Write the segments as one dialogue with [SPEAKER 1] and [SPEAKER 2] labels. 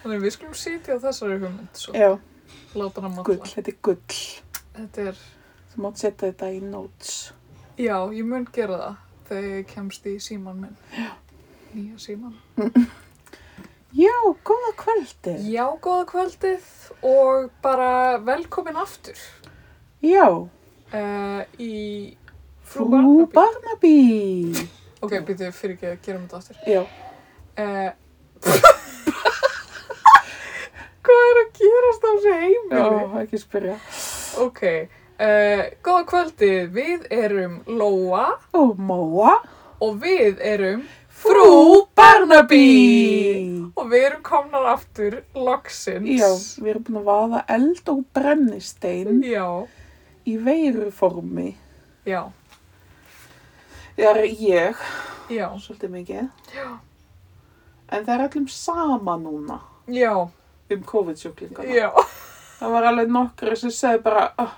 [SPEAKER 1] Þannig við skulum sitja á þessari hugmynd svo.
[SPEAKER 2] Já,
[SPEAKER 1] Láta hana matla.
[SPEAKER 2] gull, þetta er gull.
[SPEAKER 1] Þetta er,
[SPEAKER 2] Þú mátt setja þetta í notes.
[SPEAKER 1] já, ég mun gera það þegar ég kemst í síman minn. Já. Nýja síman.
[SPEAKER 2] Já, góða kvöldi.
[SPEAKER 1] Já, góða kvöldið og bara velkomin aftur
[SPEAKER 2] Já,
[SPEAKER 1] uh, í Frú
[SPEAKER 2] frú
[SPEAKER 1] Barnaby.
[SPEAKER 2] Barnaby.
[SPEAKER 1] Ok, býttu fyrir ekki að gera þetta aftur.
[SPEAKER 2] Já,
[SPEAKER 1] Uh, Hvað er að gerast á þessu
[SPEAKER 2] já,
[SPEAKER 1] heimili?
[SPEAKER 2] ekki spyrja.
[SPEAKER 1] Ok, uh, góða kvöldið, við erum Lóa
[SPEAKER 2] Og Móa.
[SPEAKER 1] og við erum
[SPEAKER 2] Frú
[SPEAKER 1] Barnaby. og við erum komnar aftur loksins.
[SPEAKER 2] Já, við erum búin að vaða eld og brennistein
[SPEAKER 1] Já,
[SPEAKER 2] í veiruformi.
[SPEAKER 1] já,
[SPEAKER 2] Það er ég,
[SPEAKER 1] já,
[SPEAKER 2] svolítið mikið.
[SPEAKER 1] Já.
[SPEAKER 2] En það er öllum sama núna
[SPEAKER 1] já,
[SPEAKER 2] um COVID-sjúklingana.
[SPEAKER 1] já,
[SPEAKER 2] Það var alveg nokkru sem segði bara, oh,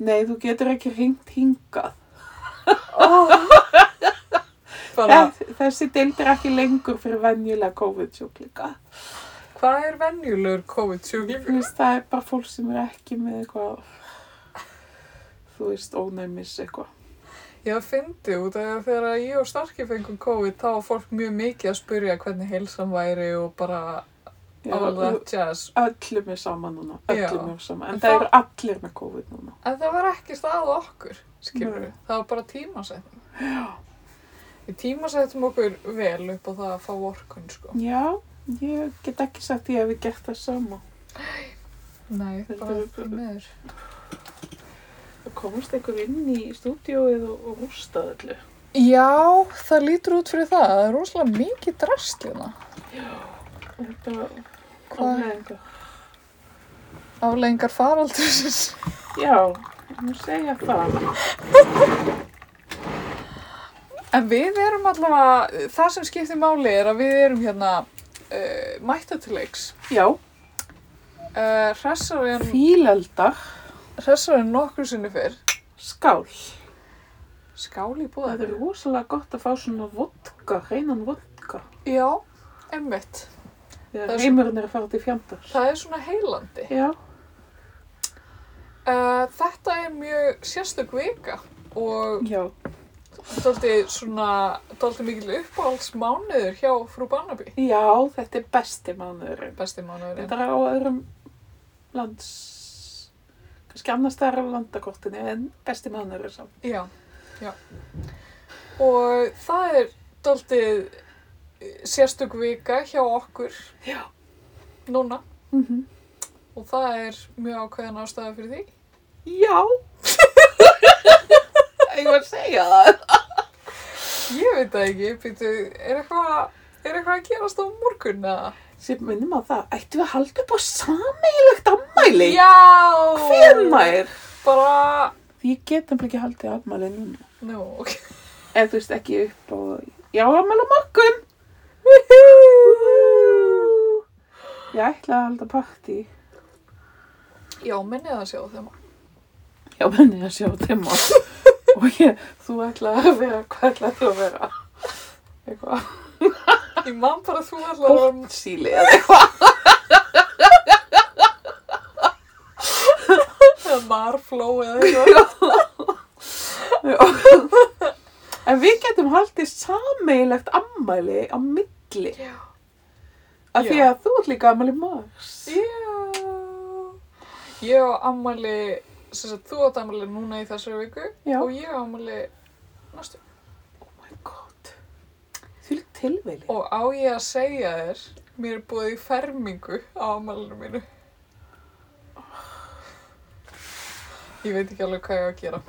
[SPEAKER 2] nei, þú getur ekki hringt hingað.
[SPEAKER 1] bara,
[SPEAKER 2] Þess, þessi deild er ekki lengur fyrir venjulega COVID-sjúklinga.
[SPEAKER 1] hvað er venjulegur COVID-sjúklingur?
[SPEAKER 2] Þú veist, það er bara fólk sem er ekki með eitthvað, þú veist, ónæmis eitthvað.
[SPEAKER 1] Ég fyndi út af því að þegar ég og Starki fengum COVID þá var fólk mjög mikið að spyrja hvernig heilsan væri og bara
[SPEAKER 2] Já,
[SPEAKER 1] all
[SPEAKER 2] þú-
[SPEAKER 1] that jazz.
[SPEAKER 2] Öllum er sama núna, öllum
[SPEAKER 1] Já.
[SPEAKER 2] er sama, en
[SPEAKER 1] En
[SPEAKER 2] það
[SPEAKER 1] það-
[SPEAKER 2] eru allir með COVID núna.
[SPEAKER 1] En það var ekki stað á okkur, skilur
[SPEAKER 2] Nei.
[SPEAKER 1] Það var bara tímasetning. Já. Við tímasettum okkur vel upp á það að fá orkun, sko.
[SPEAKER 2] Já, ég get ekki sagt ég hefði gert það sama.
[SPEAKER 1] Nei,
[SPEAKER 2] Þetta
[SPEAKER 1] bara
[SPEAKER 2] er-
[SPEAKER 1] því meður.
[SPEAKER 2] Það komast einhver inn í stúdíóið og, og rústað öllu.
[SPEAKER 1] Já, það lítur út fyrir það. Það er rosalega mikið hérna, drastlina.
[SPEAKER 2] Þetta
[SPEAKER 1] Hvað?
[SPEAKER 2] afleiðingar.
[SPEAKER 1] Aflengar faraldurins.
[SPEAKER 2] Já, nú segja það.
[SPEAKER 1] En við erum allavega, það sem skiptir máli er að við erum hérna uh, mættatileiks.
[SPEAKER 2] Já,
[SPEAKER 1] Uh, hressar en,
[SPEAKER 2] fílaldar,
[SPEAKER 1] hressar en nokkur sinni fyrr.
[SPEAKER 2] skál.
[SPEAKER 1] Skál í
[SPEAKER 2] Það er
[SPEAKER 1] búðar.
[SPEAKER 2] rosalega gott að fá svona vodka, hreinan vodka.
[SPEAKER 1] Já, emmitt. Það er
[SPEAKER 2] Þegar
[SPEAKER 1] svo-
[SPEAKER 2] heimurinn er að fara til fjandars.
[SPEAKER 1] Það er svona heilandi.
[SPEAKER 2] Já,
[SPEAKER 1] Uh, þetta er mjög sérstök vika og
[SPEAKER 2] já,
[SPEAKER 1] daldi svona, daldi mikil uppáhaldsmánuður hjá frú Barnaby.
[SPEAKER 2] já, þetta er besti mánuðurinn.
[SPEAKER 1] Besti mánuðurinn.
[SPEAKER 2] Þetta er á öðrum lands, kannski annars það er á landakortinu, en besti mánuðurinn samt.
[SPEAKER 1] Já, já. Og það er daldi sérstök vika hjá okkur.
[SPEAKER 2] Já.
[SPEAKER 1] Núna.
[SPEAKER 2] Mm
[SPEAKER 1] Og það er mjög ákveðin ástæða fyrir því.
[SPEAKER 2] Já. Ég var að segja það.
[SPEAKER 1] Ég veit það ekki, býtu, er eitthvað, er eitthvað að gerast á morgun eða?
[SPEAKER 2] Sér minnum á það, ættum við að halda upp á sameigilegt ammæli?
[SPEAKER 1] Já!
[SPEAKER 2] Hvenær?
[SPEAKER 1] Bara,
[SPEAKER 2] Því ég get nefnilega ekki haldið ammæli núna.
[SPEAKER 1] nú, ok.
[SPEAKER 2] Ef þú veist ekki upp á, já, ammæli á morgun. Ég ætla að halda partí.
[SPEAKER 1] Já, minnið að sjá þeim.
[SPEAKER 2] Já, menn ég að sjá tema. Og ég, þú ætla að vera, hvað ætla þú að vera? Eitthvað,
[SPEAKER 1] Ég man bara að þú ætlar að vera
[SPEAKER 2] bótsíli eða eitthvað.
[SPEAKER 1] eða marfló eða eitthvað.
[SPEAKER 2] Já. En við getum haldið sameigilegt ammæli á milli.
[SPEAKER 1] Já.
[SPEAKER 2] Af því
[SPEAKER 1] Já.
[SPEAKER 2] að þú ert líka ammali mars.
[SPEAKER 1] Já. Ég á ammali, sem sagt þú átt ammali núna í þessari viku
[SPEAKER 2] Já.
[SPEAKER 1] og ég á ammali næstu.
[SPEAKER 2] Oh my god. Þú líkt tilvili.
[SPEAKER 1] Og á ég að segja þér, mér er búið í fermingu á ammalinu mínu. Ég veit ekki alveg hvað ég á að gera.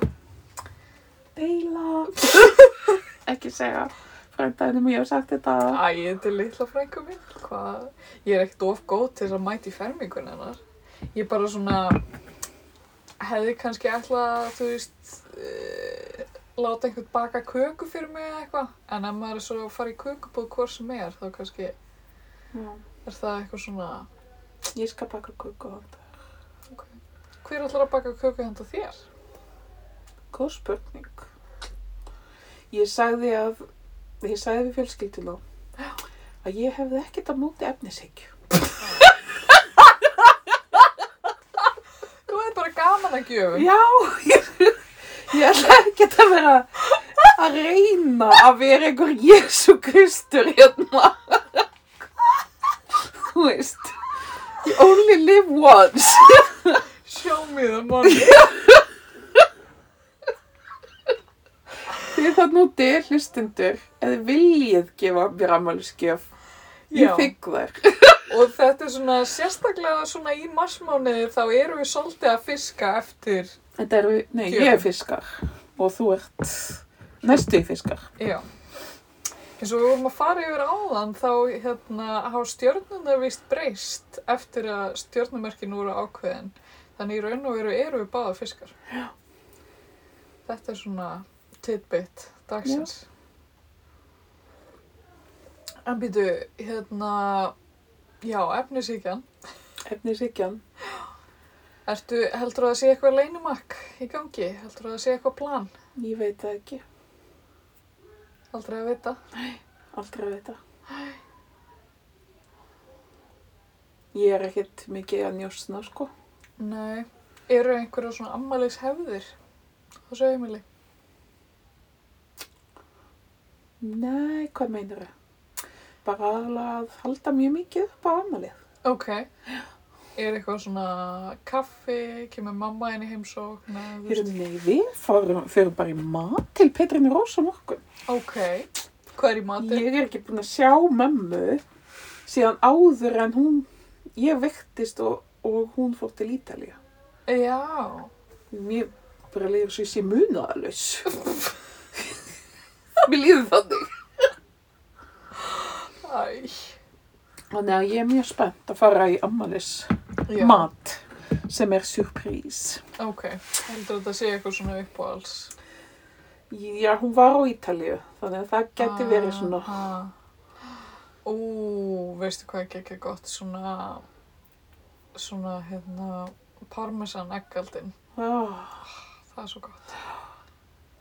[SPEAKER 2] Deila. Ekki segja frændaðinum ég hef sagt þetta.
[SPEAKER 1] Æ, þetta er litla frængu mín. Hvað? Ég er ekkert of góð til þess að mæta í fermingun hennar. Ég bara svona hefði kannski ætlað að, þú veist, uh, láta einhvern baka köku fyrir mig eða eitthvað. En ef maður er svo að fara í kökubóð hvort sem er, þá kannski
[SPEAKER 2] Já.
[SPEAKER 1] er það eitthvað svona,
[SPEAKER 2] Ég skal baka kukku á þetta.
[SPEAKER 1] ok, hver ætlar að baka köku handa þér?
[SPEAKER 2] Góð spurning. Ég sagði að, ég sagði við fjölskyldina að ég hefði ekkert á móti efnishyggju.
[SPEAKER 1] barnagjöfum.
[SPEAKER 2] Já, ég, ég ætla ekki að vera að reyna að vera einhver Jésu Kristur hérna. Þú veist, you only live once.
[SPEAKER 1] Show me the money.
[SPEAKER 2] Þið það núti hlustundur, eða viljið gefa mér ammælisgjöf. Ég
[SPEAKER 1] Já.
[SPEAKER 2] þigg þær.
[SPEAKER 1] Og þetta er svona, sérstaklega svona í marsmániði þá erum við svolítið að fiska eftir,
[SPEAKER 2] Þetta eru, nei, ég er fiskar og þú ert næstu í fiskar.
[SPEAKER 1] já. Eins og við vorum að fara yfir áðan þá hérna hafa stjörnunar vist breyst eftir að stjörnumerkin voru ákveðin. Þannig í raun og veru eru við báða fiskar. Já. Þetta er svona tidbit dagsins. En býtu, hérna, já, efnisíkjan.
[SPEAKER 2] Efnisíkjan.
[SPEAKER 1] Ertu, heldur að það sé eitthvað leynumakk í gangi? Heldur að það sé eitthvað plan?
[SPEAKER 2] Ég veit það ekki.
[SPEAKER 1] Aldrei að vita.
[SPEAKER 2] Aldrei að vita. Ég er ekkert mikið að njósna, sko.
[SPEAKER 1] Nei. Eru einhverja svona ammælis hefðir? Það sé heimili.
[SPEAKER 2] Nei, hvað meinar þau? Bara aðalega að halda mjög mikið upp á amalið.
[SPEAKER 1] Ok. Er eitthvað svona kaffi, kemur mamma inn í heimsókn? eða þú
[SPEAKER 2] Hér
[SPEAKER 1] veist-
[SPEAKER 2] nei, við fórum, förum bara í mat til Petrinni Rósa morgun.
[SPEAKER 1] Ok. Hvað er í matinn?
[SPEAKER 2] Ég er ekki búin að sjá mömmu síðan áður en hún, ég vektist og, og hún fór til Ítalía.
[SPEAKER 1] Já.
[SPEAKER 2] Mér bara leiður svo ég sé munaðalus. Mér líður þannig.
[SPEAKER 1] Æ.
[SPEAKER 2] Þannig að ég er mjög spennt að fara í amalis
[SPEAKER 1] Já.
[SPEAKER 2] mat sem er surprís.
[SPEAKER 1] Ok. Heldur að það sé eitthvað svona uppáhalds?
[SPEAKER 2] Já, hún var á Ítalíu, þannig að það geti verið svona,
[SPEAKER 1] Aha. Ú, veistu hvað ekki ekki gott svona svona hérna parmesan eggaldin
[SPEAKER 2] ah,
[SPEAKER 1] það er svo gott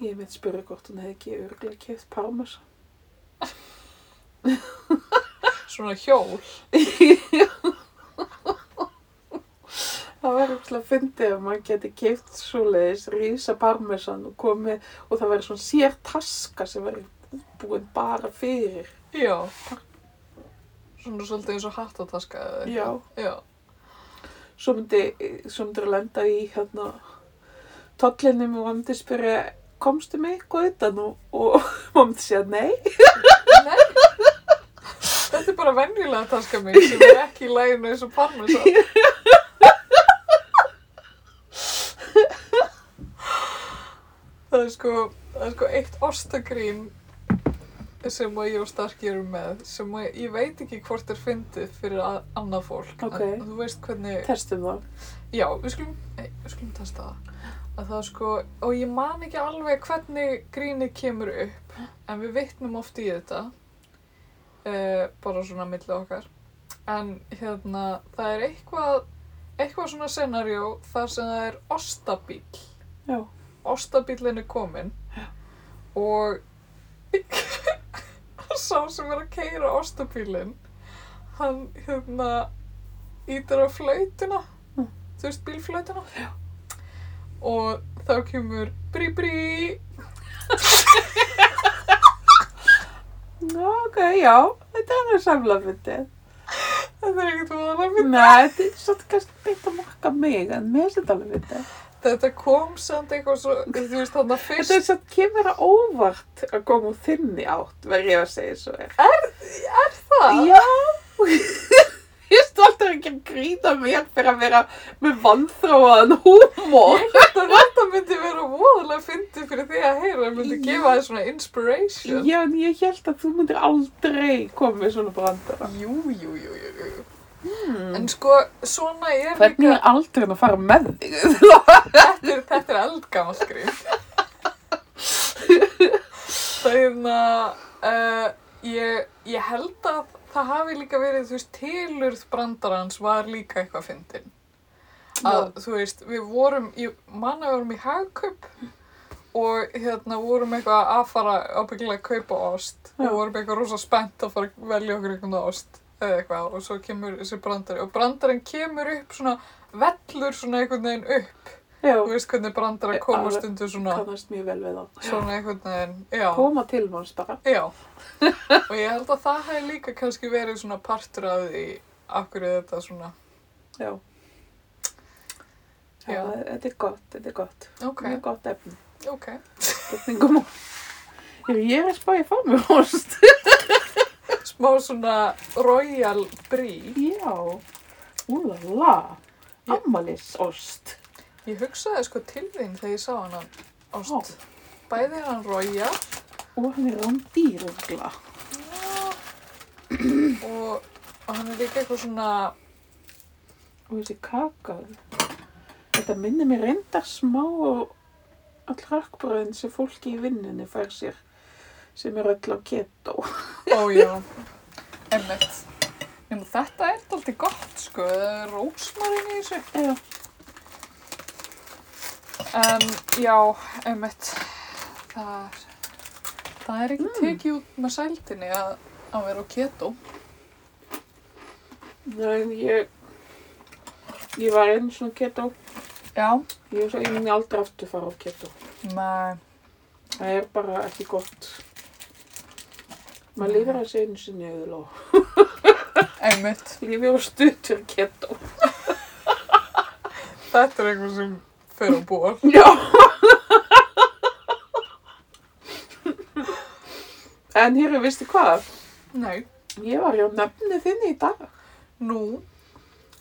[SPEAKER 2] ég veit spyrja hvort hún hefði ekki örglega keft parmesan.
[SPEAKER 1] svona hjól
[SPEAKER 2] Það var eitthvað að fyndi að maður geti keft svoleiðis, rísa parmesan og komið og það væri svona sér taska sem væri útbúin bara fyrir.
[SPEAKER 1] já svona svolítið eins og hattataska eða eitthvað.
[SPEAKER 2] Já,
[SPEAKER 1] já
[SPEAKER 2] svo myndi, svo myndi að lenda í hérna tollinum og hann myndi spyrja, komstu mig eitthvað utan og, og maður myndi segja nei.
[SPEAKER 1] Nei. þetta er bara venjulega taska mín sem er ekki í læginu eins og parmesan það er sko það er sko eitt ostagrín sem að ég og Starki eru með sem að ég veit ekki hvort er fyndið fyrir að, annað fólk
[SPEAKER 2] Ok.
[SPEAKER 1] en þú veist hvernig
[SPEAKER 2] Testum það.
[SPEAKER 1] já, við skulum, nei, við skulum testa það að það er sko, og ég man ekki alveg hvernig grínið kemur upp en við vitnum oft í þetta uh, bara svona milli okkar en hérna, það er eitthvað eitthvað svona scenarjó þar sem það er ostabíl
[SPEAKER 2] Já.
[SPEAKER 1] ostabílinn er kominn og sá sem er að keira ostabílinn hann hérna ítir á flautuna
[SPEAKER 2] Mm.
[SPEAKER 1] þú veist bílflautuna Já. og þá kemur brí brí
[SPEAKER 2] Já, ok, já, þetta er alveg samlega fyndið.
[SPEAKER 1] þetta er ekkert voðalega mynd
[SPEAKER 2] Nei, þetta er svolítið kannski beint að marka mig, en mér finnst þetta alveg vita.
[SPEAKER 1] þetta kom samt eitthvað svo þú veist þarna fyrst
[SPEAKER 2] Þetta er svolítið kemur að óvart að koma úr þinni átt, verð ég að segja svo er.
[SPEAKER 1] það
[SPEAKER 2] Já, ég er stoltur ekki að grína mér fyrir að vera með vanþróaðan húmór.
[SPEAKER 1] Þetta, þetta myndi vera voðalega fyndi fyrir því að heyra, myndi
[SPEAKER 2] Já.
[SPEAKER 1] gefa þér svona inspiration.
[SPEAKER 2] Já, en ég held að þú myndir aldrei koma með svona brandara.
[SPEAKER 1] Jú, jú, jú, jú, jú.
[SPEAKER 2] Hmm.
[SPEAKER 1] En sko, svona er
[SPEAKER 2] Hvernig
[SPEAKER 1] líka,
[SPEAKER 2] er aldrei að fara með þig?
[SPEAKER 1] þetta er, þetta er eldgamalt grín. það er hérna, uh, ég, ég held að það hafi líka verið, þú veist, tilurð brandarans var líka eitthvað fyndin. Að, þú veist, við vorum, í, manna vorum í hagkaup og hérna vorum eitthvað að fara ábyggilega að kaupa ost
[SPEAKER 2] Já.
[SPEAKER 1] og vorum eitthvað rosa spennt að fara að velja okkur einhvern ost eða eitthvað og svo kemur þessi brandari og brandarinn kemur upp svona vellur svona einhvern veginn upp
[SPEAKER 2] Já, Já,
[SPEAKER 1] Þú veist hvernig brandar að koma
[SPEAKER 2] Alveg.
[SPEAKER 1] stundu svona,
[SPEAKER 2] kannast mjög vel við það.
[SPEAKER 1] svona einhvern veginn, já.
[SPEAKER 2] Koma til manns bara.
[SPEAKER 1] Já, og ég held að það hefði líka kannski verið svona partur af því af hverju þetta svona,
[SPEAKER 2] Já. Já,
[SPEAKER 1] Já.
[SPEAKER 2] þetta er gott, þetta er gott.
[SPEAKER 1] ok,
[SPEAKER 2] Mjög gott efni.
[SPEAKER 1] ok.
[SPEAKER 2] Spurningum og... Ég er að spá ég fara með hóst.
[SPEAKER 1] Smá svona royal brie.
[SPEAKER 2] Já. Úlala.
[SPEAKER 1] Ég-
[SPEAKER 2] Ammalisost.
[SPEAKER 1] Ég hugsaði sko til þín þegar ég sá hann ást. Bæði hann royal
[SPEAKER 2] Og hann er rándýr örugglega.
[SPEAKER 1] og, og hann er líka eitthvað svona,
[SPEAKER 2] Og þessi kaka. Þetta minnir mér reyndar smá að hrakkbröðin sem fólki í vinnunni fær sér sem er öll á keto.
[SPEAKER 1] ójá, emmitt. Nefnum þetta er alltaf gott sko, það er rósmarin í þessu.
[SPEAKER 2] Já,
[SPEAKER 1] En já, emmitt, það er, það er ekki tekið út með sældinni að, að vera á keto.
[SPEAKER 2] en ég, ég var einu svona keto.
[SPEAKER 1] Já.
[SPEAKER 2] Ég er svo einu aldrei aftur fara á keto.
[SPEAKER 1] Nei,
[SPEAKER 2] Það er bara ekki gott. Maður lifir að segja einu sinni auðvitað og
[SPEAKER 1] emmitt.
[SPEAKER 2] lifir á stuttur keto.
[SPEAKER 1] Þetta er eitthvað sem fer á ból.
[SPEAKER 2] Já. en hér, veistu hvað?
[SPEAKER 1] Nei.
[SPEAKER 2] Ég var hjá nefni þinni í dag.
[SPEAKER 1] Nú,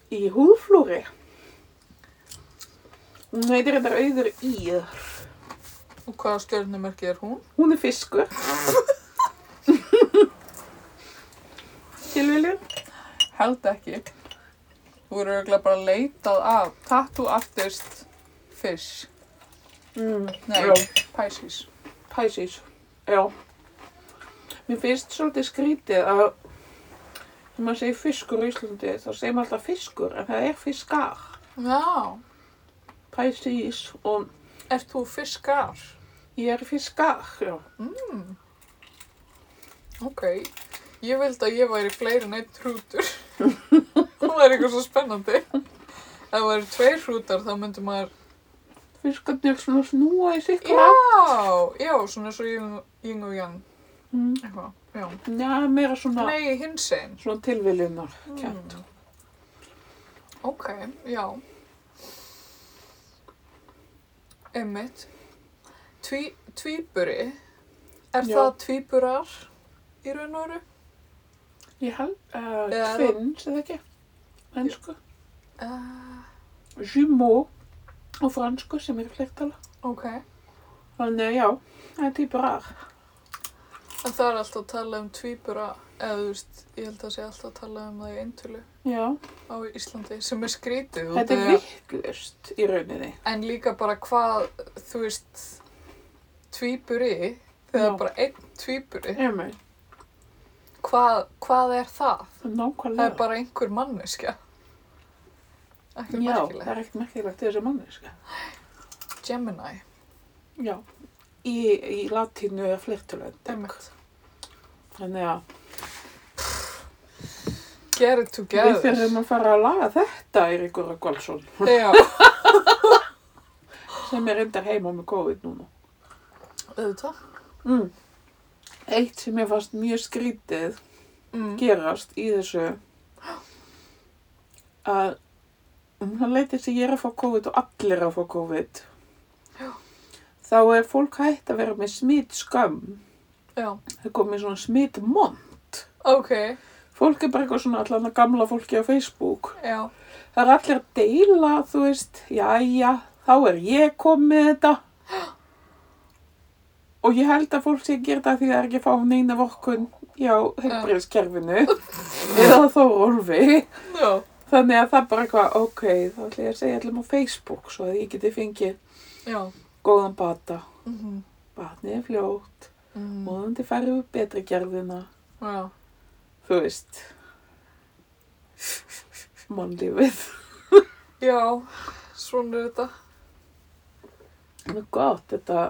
[SPEAKER 2] Í húðflúri. Hún heitir þetta auður íð.
[SPEAKER 1] og hvaða stjörnumerki er hún?
[SPEAKER 2] Hún er fiskur. Tilviljun?
[SPEAKER 1] Held ekki. Þú eru eiginlega bara leitað af tattoo artist fish.
[SPEAKER 2] Mm.
[SPEAKER 1] Nei,
[SPEAKER 2] Já.
[SPEAKER 1] Pisces.
[SPEAKER 2] Pisces. Já. Mér finnst svolítið skrítið að þegar maður segir fiskur í Íslandi þá segir maður alltaf fiskur en það er fiskar.
[SPEAKER 1] Já.
[SPEAKER 2] Pisces og
[SPEAKER 1] Ert þú fiskar?
[SPEAKER 2] ég er fiskar. Já.
[SPEAKER 1] Ok. Ég vildi að ég væri fleiri en einn hrútur. það væri eitthvað svo spennandi. Ef það væri tveir hrútar þá myndi maður...
[SPEAKER 2] Fiskarnir svona snúa í sikkur
[SPEAKER 1] Já,
[SPEAKER 2] átt.
[SPEAKER 1] já, svona svo yng og yang.
[SPEAKER 2] Mm.
[SPEAKER 1] Eitthvað, já.
[SPEAKER 2] Já, meira svona,
[SPEAKER 1] Nei, hins einn.
[SPEAKER 2] svona tilviljunar.
[SPEAKER 1] Mm.
[SPEAKER 2] Kjent.
[SPEAKER 1] Ok, já. Einmitt. Tví, tvíburi, er
[SPEAKER 2] Já.
[SPEAKER 1] það tvíburar í raun og veru?
[SPEAKER 2] Ég held, uh,
[SPEAKER 1] Eða er það-
[SPEAKER 2] tvinns eða ekki, ennsku,
[SPEAKER 1] Uh,
[SPEAKER 2] jumeau og fransku sem er flertala.
[SPEAKER 1] ok.
[SPEAKER 2] Þannig að já, það er týpur ar.
[SPEAKER 1] En það er alltaf að tala um tvíbura, eða þú veist, ég held að sé alltaf að tala um það í eintölu
[SPEAKER 2] Já,
[SPEAKER 1] á Íslandi, sem er skrítið. út
[SPEAKER 2] þetta
[SPEAKER 1] af
[SPEAKER 2] er
[SPEAKER 1] því að-
[SPEAKER 2] vittlust í rauninni.
[SPEAKER 1] En líka bara hvað, þú veist, tvíburi, þegar
[SPEAKER 2] Já.
[SPEAKER 1] bara einn tvíburi,
[SPEAKER 2] Emi,
[SPEAKER 1] hvað, hvað er það? Það
[SPEAKER 2] nákvæmlega.
[SPEAKER 1] er bara einhver manneskja.
[SPEAKER 2] Já,
[SPEAKER 1] Ekki
[SPEAKER 2] það
[SPEAKER 1] merkileg.
[SPEAKER 2] er ekkert merkilegt í þessu manneska.
[SPEAKER 1] Gemini,
[SPEAKER 2] Já, í, í latínu er flertulönd.
[SPEAKER 1] demmit.
[SPEAKER 2] Þannig að
[SPEAKER 1] Get it
[SPEAKER 2] við
[SPEAKER 1] together.
[SPEAKER 2] þurfum að fara að laga þetta, Eiríkur Röggvaldsson,
[SPEAKER 1] Já,
[SPEAKER 2] sem er reyndar heima með COVID núna.
[SPEAKER 1] auðvitað.
[SPEAKER 2] Mm. Eitt sem ég fannst mjög skrítið
[SPEAKER 1] Mm.
[SPEAKER 2] gerast í þessu að hann leytið sem ég er að fá COVID og allir að fá COVID
[SPEAKER 1] Já.
[SPEAKER 2] þá er fólk hægt að vera með smít skömm
[SPEAKER 1] Já,
[SPEAKER 2] það er komið svona smít mont
[SPEAKER 1] ok,
[SPEAKER 2] fólk er bara eitthvað svona allan að gamla fólki á Facebook
[SPEAKER 1] já,
[SPEAKER 2] það er allir að deila þú veist, jæja þá er ég komið með þetta og ég held að fólk sé að gera þetta því það er ekki að fá neina vorkun hjá heilbriðskerfinu eða Þórólfi
[SPEAKER 1] já,
[SPEAKER 2] Þannig að það bara eitthvað, ok, þá ætlum ég að segja allum á Facebook svo að ég geti fengið
[SPEAKER 1] já.
[SPEAKER 2] góðan bata.
[SPEAKER 1] Mm -hmm.
[SPEAKER 2] Batnið er fljótt,
[SPEAKER 1] mm.
[SPEAKER 2] móðandi færi við betri gerðina,
[SPEAKER 1] já.
[SPEAKER 2] þú veist, mannlífið.
[SPEAKER 1] Já, svona er þetta.
[SPEAKER 2] Það er gott þetta,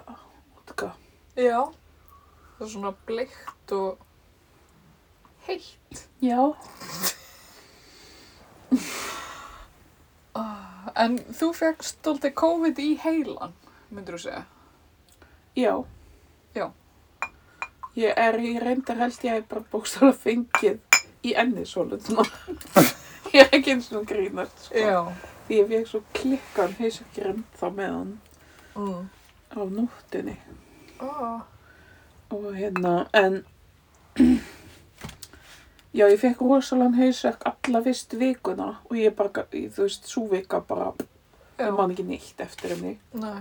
[SPEAKER 2] útka.
[SPEAKER 1] Já, það er svona bleikt og heitt.
[SPEAKER 2] Já.
[SPEAKER 1] Ah, En þú fegst stolti COVID í heilan, myndur þú segja.
[SPEAKER 2] Já.
[SPEAKER 1] Já.
[SPEAKER 2] Ég er, ég reyndar held ég hef bara bókstala fengið í ennið svolítið ég er ekki eins og grínast, sko. Því ég fekk svo klikkan hausakirinn þá með hann
[SPEAKER 1] Mm.
[SPEAKER 2] á nóttinni.
[SPEAKER 1] Oh.
[SPEAKER 2] Og hérna, en... Já, ég fekk rosalan hausverk alla fyrst vikuna og ég bara, ga- ég- þú veist, svo vika bara,
[SPEAKER 1] Já.
[SPEAKER 2] ég man ekki neitt eftir henni.
[SPEAKER 1] Nei.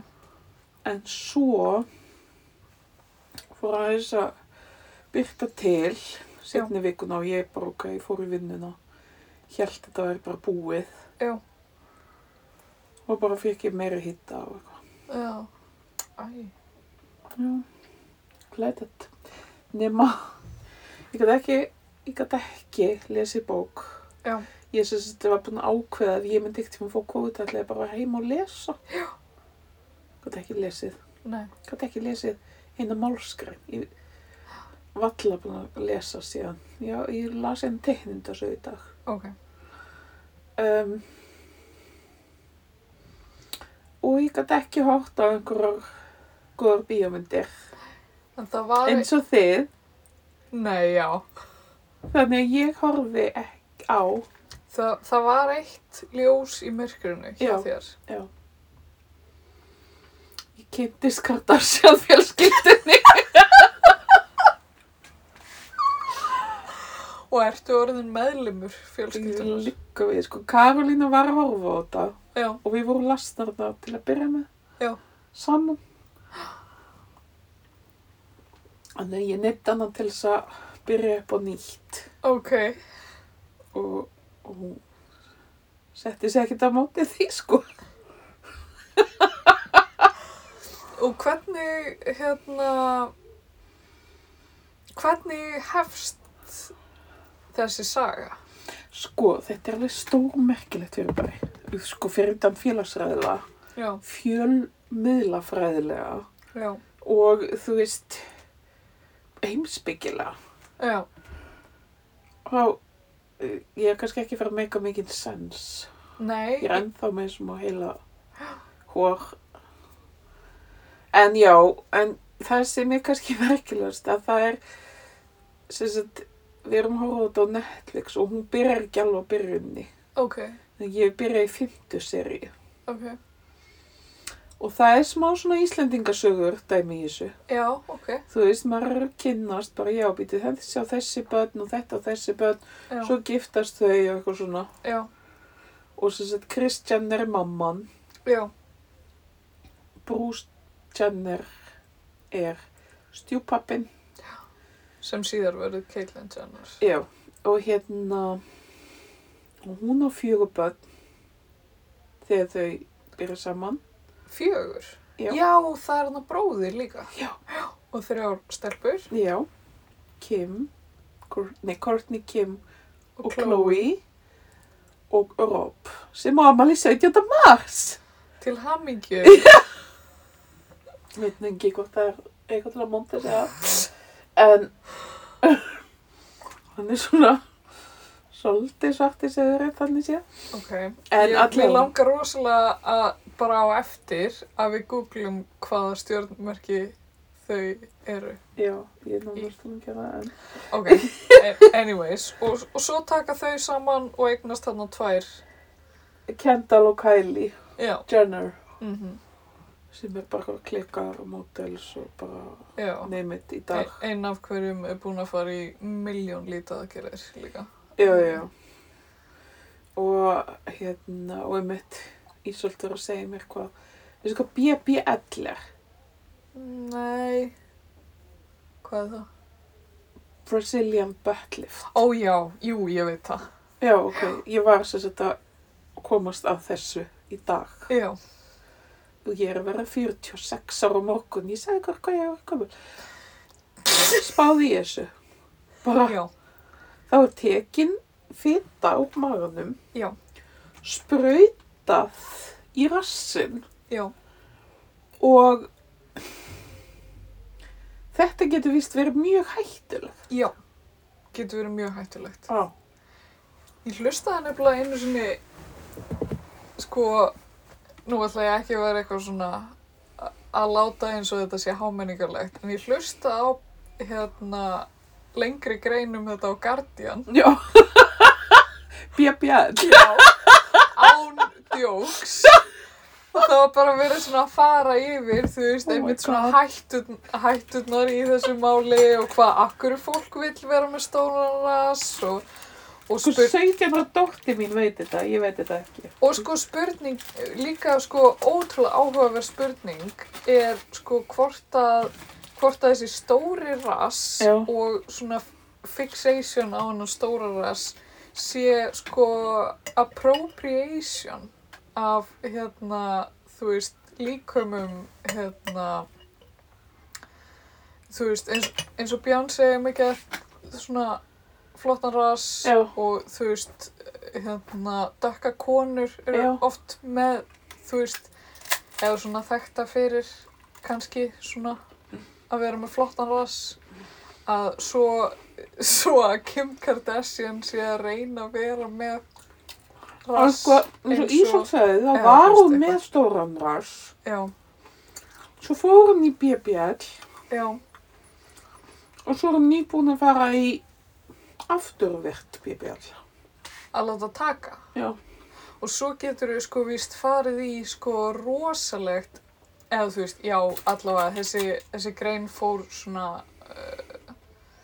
[SPEAKER 2] En svo fór aðeins að byrta til setni vikuna og ég bara ok, ég fór í vinnuna. Hjælt þetta væri bara búið.
[SPEAKER 1] Já.
[SPEAKER 2] Og bara fikk ég meira hitta og eitthvað.
[SPEAKER 1] Já. Æ.
[SPEAKER 2] Já, glæðið. Nema, ég gæti ekki, ég gæti ekki lesið bók.
[SPEAKER 1] Já.
[SPEAKER 2] Ég sem þetta var búin að ákveða að ég myndi ekkert tíma að fá kóðið, ætla ég bara heim og lesa. Já. Gæti ekki lesið.
[SPEAKER 1] Nei.
[SPEAKER 2] gæti ekki lesið eina málskrein. Ég valla búin að lesa síðan. Já, ég las einn teiknindasögu í dag.
[SPEAKER 1] Ok.
[SPEAKER 2] Um, og ég gæti ekki hótt á einhverjar góðar bíómyndir.
[SPEAKER 1] En það var... e-
[SPEAKER 2] Eins og þið.
[SPEAKER 1] Nei, já.
[SPEAKER 2] Þannig að ég horfi ekki á.
[SPEAKER 1] Það, það var eitt ljós í myrkrinu hjá
[SPEAKER 2] Já.
[SPEAKER 1] þér.
[SPEAKER 2] Ég kynntist Kardashian fjölskyldunni.
[SPEAKER 1] Og ertu orðin meðlimur
[SPEAKER 2] Ég
[SPEAKER 1] fjölskyldunar?
[SPEAKER 2] líka við, sko. Karolína var að horfa á þetta.
[SPEAKER 1] Mm. Já.
[SPEAKER 2] og við vorum lasnar þarna til að byrja með
[SPEAKER 1] Já.
[SPEAKER 2] saman þannig að ég neitt annan til þess að byrja upp á nýtt
[SPEAKER 1] Ok.
[SPEAKER 2] og, og hún setti sig ekkert á móti því sko
[SPEAKER 1] Og hvernig, hérna, hvernig hefst þessi saga?
[SPEAKER 2] sko þetta er alveg stórmerkilegt fyrir bara sko fyrir utan félagsræðila
[SPEAKER 1] Já,
[SPEAKER 2] fjölmiðlafræðilega
[SPEAKER 1] já,
[SPEAKER 2] og þú veist heimsbyggilega
[SPEAKER 1] já,
[SPEAKER 2] og eh, ég er kannski ekki fyrir að meika mikinn sens
[SPEAKER 1] nei,
[SPEAKER 2] Ég er ennþá með smá heila hór. En já, en það sem er kannski merkilegast að það er, sem sagt, við erum að horfa á þetta á Netflix og hún byrjar ekki alveg á byrjunni.
[SPEAKER 1] ok,
[SPEAKER 2] Þannig ég byrja í fymtu seríu.
[SPEAKER 1] ok,
[SPEAKER 2] Og það er smá svona Íslendingasögur dæmi í þessu.
[SPEAKER 1] já, ok,
[SPEAKER 2] Þú veist, maður er að kynnast bara, já, býtu þessi á þessi börn og þetta á þessi börn.
[SPEAKER 1] já,
[SPEAKER 2] Svo giftast þau og eitthvað svona.
[SPEAKER 1] já,
[SPEAKER 2] Og sem sagt, Kristjan er mamman.
[SPEAKER 1] já,
[SPEAKER 2] Bruce Jenner er stjúpappin
[SPEAKER 1] sem síðar verður Caitlyn Jenner.
[SPEAKER 2] Já, og hérna og hún á fjögur börn þegar þau eru saman
[SPEAKER 1] Fjögur?
[SPEAKER 2] Já.
[SPEAKER 1] það er hann að bróðir líka.
[SPEAKER 2] Já.
[SPEAKER 1] Og þrjár stelpur
[SPEAKER 2] Já, Kim Kour- Nei, Courtney Kim og,
[SPEAKER 1] Chloe
[SPEAKER 2] Chloe og Rob sem á amali 17. mars
[SPEAKER 1] til hamingju.
[SPEAKER 2] Veit nú ekki hvort það er eitthvað til að monta sig að en hann er svona svolítið svarti segur þannig sé
[SPEAKER 1] ok,
[SPEAKER 2] En
[SPEAKER 1] ég,
[SPEAKER 2] allavega.
[SPEAKER 1] ég langar rosalega að bara á eftir að við googlum hvaða stjórnmerki þau eru.
[SPEAKER 2] Já, ég er nánast búin að gera það en...
[SPEAKER 1] Ok, a- anyways, og, og svo taka þau saman og eignast þarna tvær,
[SPEAKER 2] Kendall og Kylie
[SPEAKER 1] já,
[SPEAKER 2] Jenner
[SPEAKER 1] mhm,
[SPEAKER 2] sem er bara klikkar og mótels og bara
[SPEAKER 1] já,
[SPEAKER 2] neymit í dag.
[SPEAKER 1] e- ein af hverjum er búin að fara í miljón lítadagerir líka,
[SPEAKER 2] Já, já. Og hérna, og einmitt Ísöldur að segja mér hvað veistu hvað BBL er?
[SPEAKER 1] nei, hvað er það?
[SPEAKER 2] Brazilian Butt Lift.
[SPEAKER 1] Ó já, jú, ég veit það,
[SPEAKER 2] Já, ok. Ég var sem sagt að komast að þessu í dag
[SPEAKER 1] já,
[SPEAKER 2] og ég er að vera 46 ára á morgun. Ég sagði hvað hvað ég var komið. Spáði ég þessu. Bara
[SPEAKER 1] já,
[SPEAKER 2] þá er tekin fita úr maganum
[SPEAKER 1] Já.
[SPEAKER 2] sprautað í rassin
[SPEAKER 1] já,
[SPEAKER 2] og þetta getur vist verið mjög hættulegt
[SPEAKER 1] já, getur verið mjög hættulegt.
[SPEAKER 2] ah.
[SPEAKER 1] Ég hlustaði nefnilega einu sinni, sko, nú ætla ég ekki að vera eitthvað svona a- að láta eins og þetta sé hámenningarlegt, en ég hlusta á hérna lengri greinum þetta á Guardian
[SPEAKER 2] Já. BBN.
[SPEAKER 1] Já, án djóks. Og það var bara verið svona að fara yfir, þú veist,
[SPEAKER 2] Oh my
[SPEAKER 1] einmitt svona
[SPEAKER 2] God.
[SPEAKER 1] hættun, hættunar í þessu máli og hvað akkur fólk vill vera með stólarnas og, og,
[SPEAKER 2] Sko
[SPEAKER 1] spyr,
[SPEAKER 2] 17 ára dótti mín veit þetta, ég veit þetta ekki.
[SPEAKER 1] og sko spurning, líka sko ótrúlega áhugaverð spurning er sko hvort að, hvort að þessi stóri rass
[SPEAKER 2] Já.
[SPEAKER 1] og svona fixation á hennar stóra rass sé sko appropriation af hérna, þú veist, líkumum hérna þú veist, eins, eins og Beyonce er mikið svona flottan ras
[SPEAKER 2] Já.
[SPEAKER 1] og þú veist, hérna dökka konur eru
[SPEAKER 2] Já.
[SPEAKER 1] oft með, þú veist eða svona þekta fyrir kannski svona að vera með flottan ras að svo, svo að Kim Kardashian sé að reyna að vera með
[SPEAKER 2] Og
[SPEAKER 1] rass
[SPEAKER 2] sko, eins og
[SPEAKER 1] eins og-
[SPEAKER 2] Ísak sagði, þá
[SPEAKER 1] Já,
[SPEAKER 2] var
[SPEAKER 1] þú
[SPEAKER 2] hún
[SPEAKER 1] veist
[SPEAKER 2] með
[SPEAKER 1] eitthvað.
[SPEAKER 2] stóran rass.
[SPEAKER 1] já,
[SPEAKER 2] Svo fór hún í BBL
[SPEAKER 1] já,
[SPEAKER 2] og svo er hún nýbúin að fara í afturvirt BBL.
[SPEAKER 1] að láta taka
[SPEAKER 2] Já.
[SPEAKER 1] og svo getur við sko víst farið í sko rosalegt eða þú veist, já, allavega þessi, þessi grein fór svona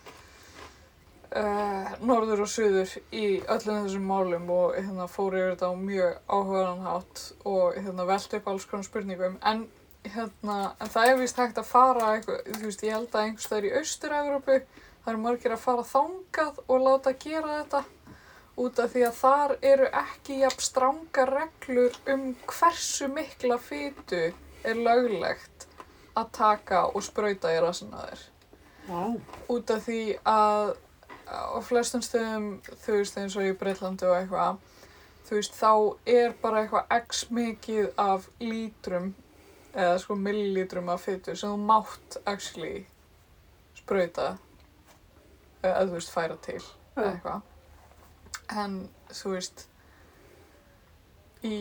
[SPEAKER 1] uh, uh, norður og suður í öllum þessum málum og hérna fór yfir þetta á mjög áhugaðan hátt og hérna velti upp alls konar spurningum en hérna, en það er víst hægt að fara eitthvað, þú veist, ég held að einhvers þar í Austur-Európu, það eru margir að fara þangað og láta gera þetta út af því að þar eru ekki jafn stranga reglur um hversu mikla fytu er löglegt að taka og sprauta í rassinn á þér.
[SPEAKER 2] Vá.
[SPEAKER 1] Út af því að á flestum stöðum, þú veist eins og í Breitlandi og eitthvað, þú veist þá er bara eitthvað x mikið af lítrum eða sko millilítrum af fytu sem þú mátt actually sprauta eða þú veist færa til eða
[SPEAKER 2] Já.
[SPEAKER 1] eitthvað en þú veist í,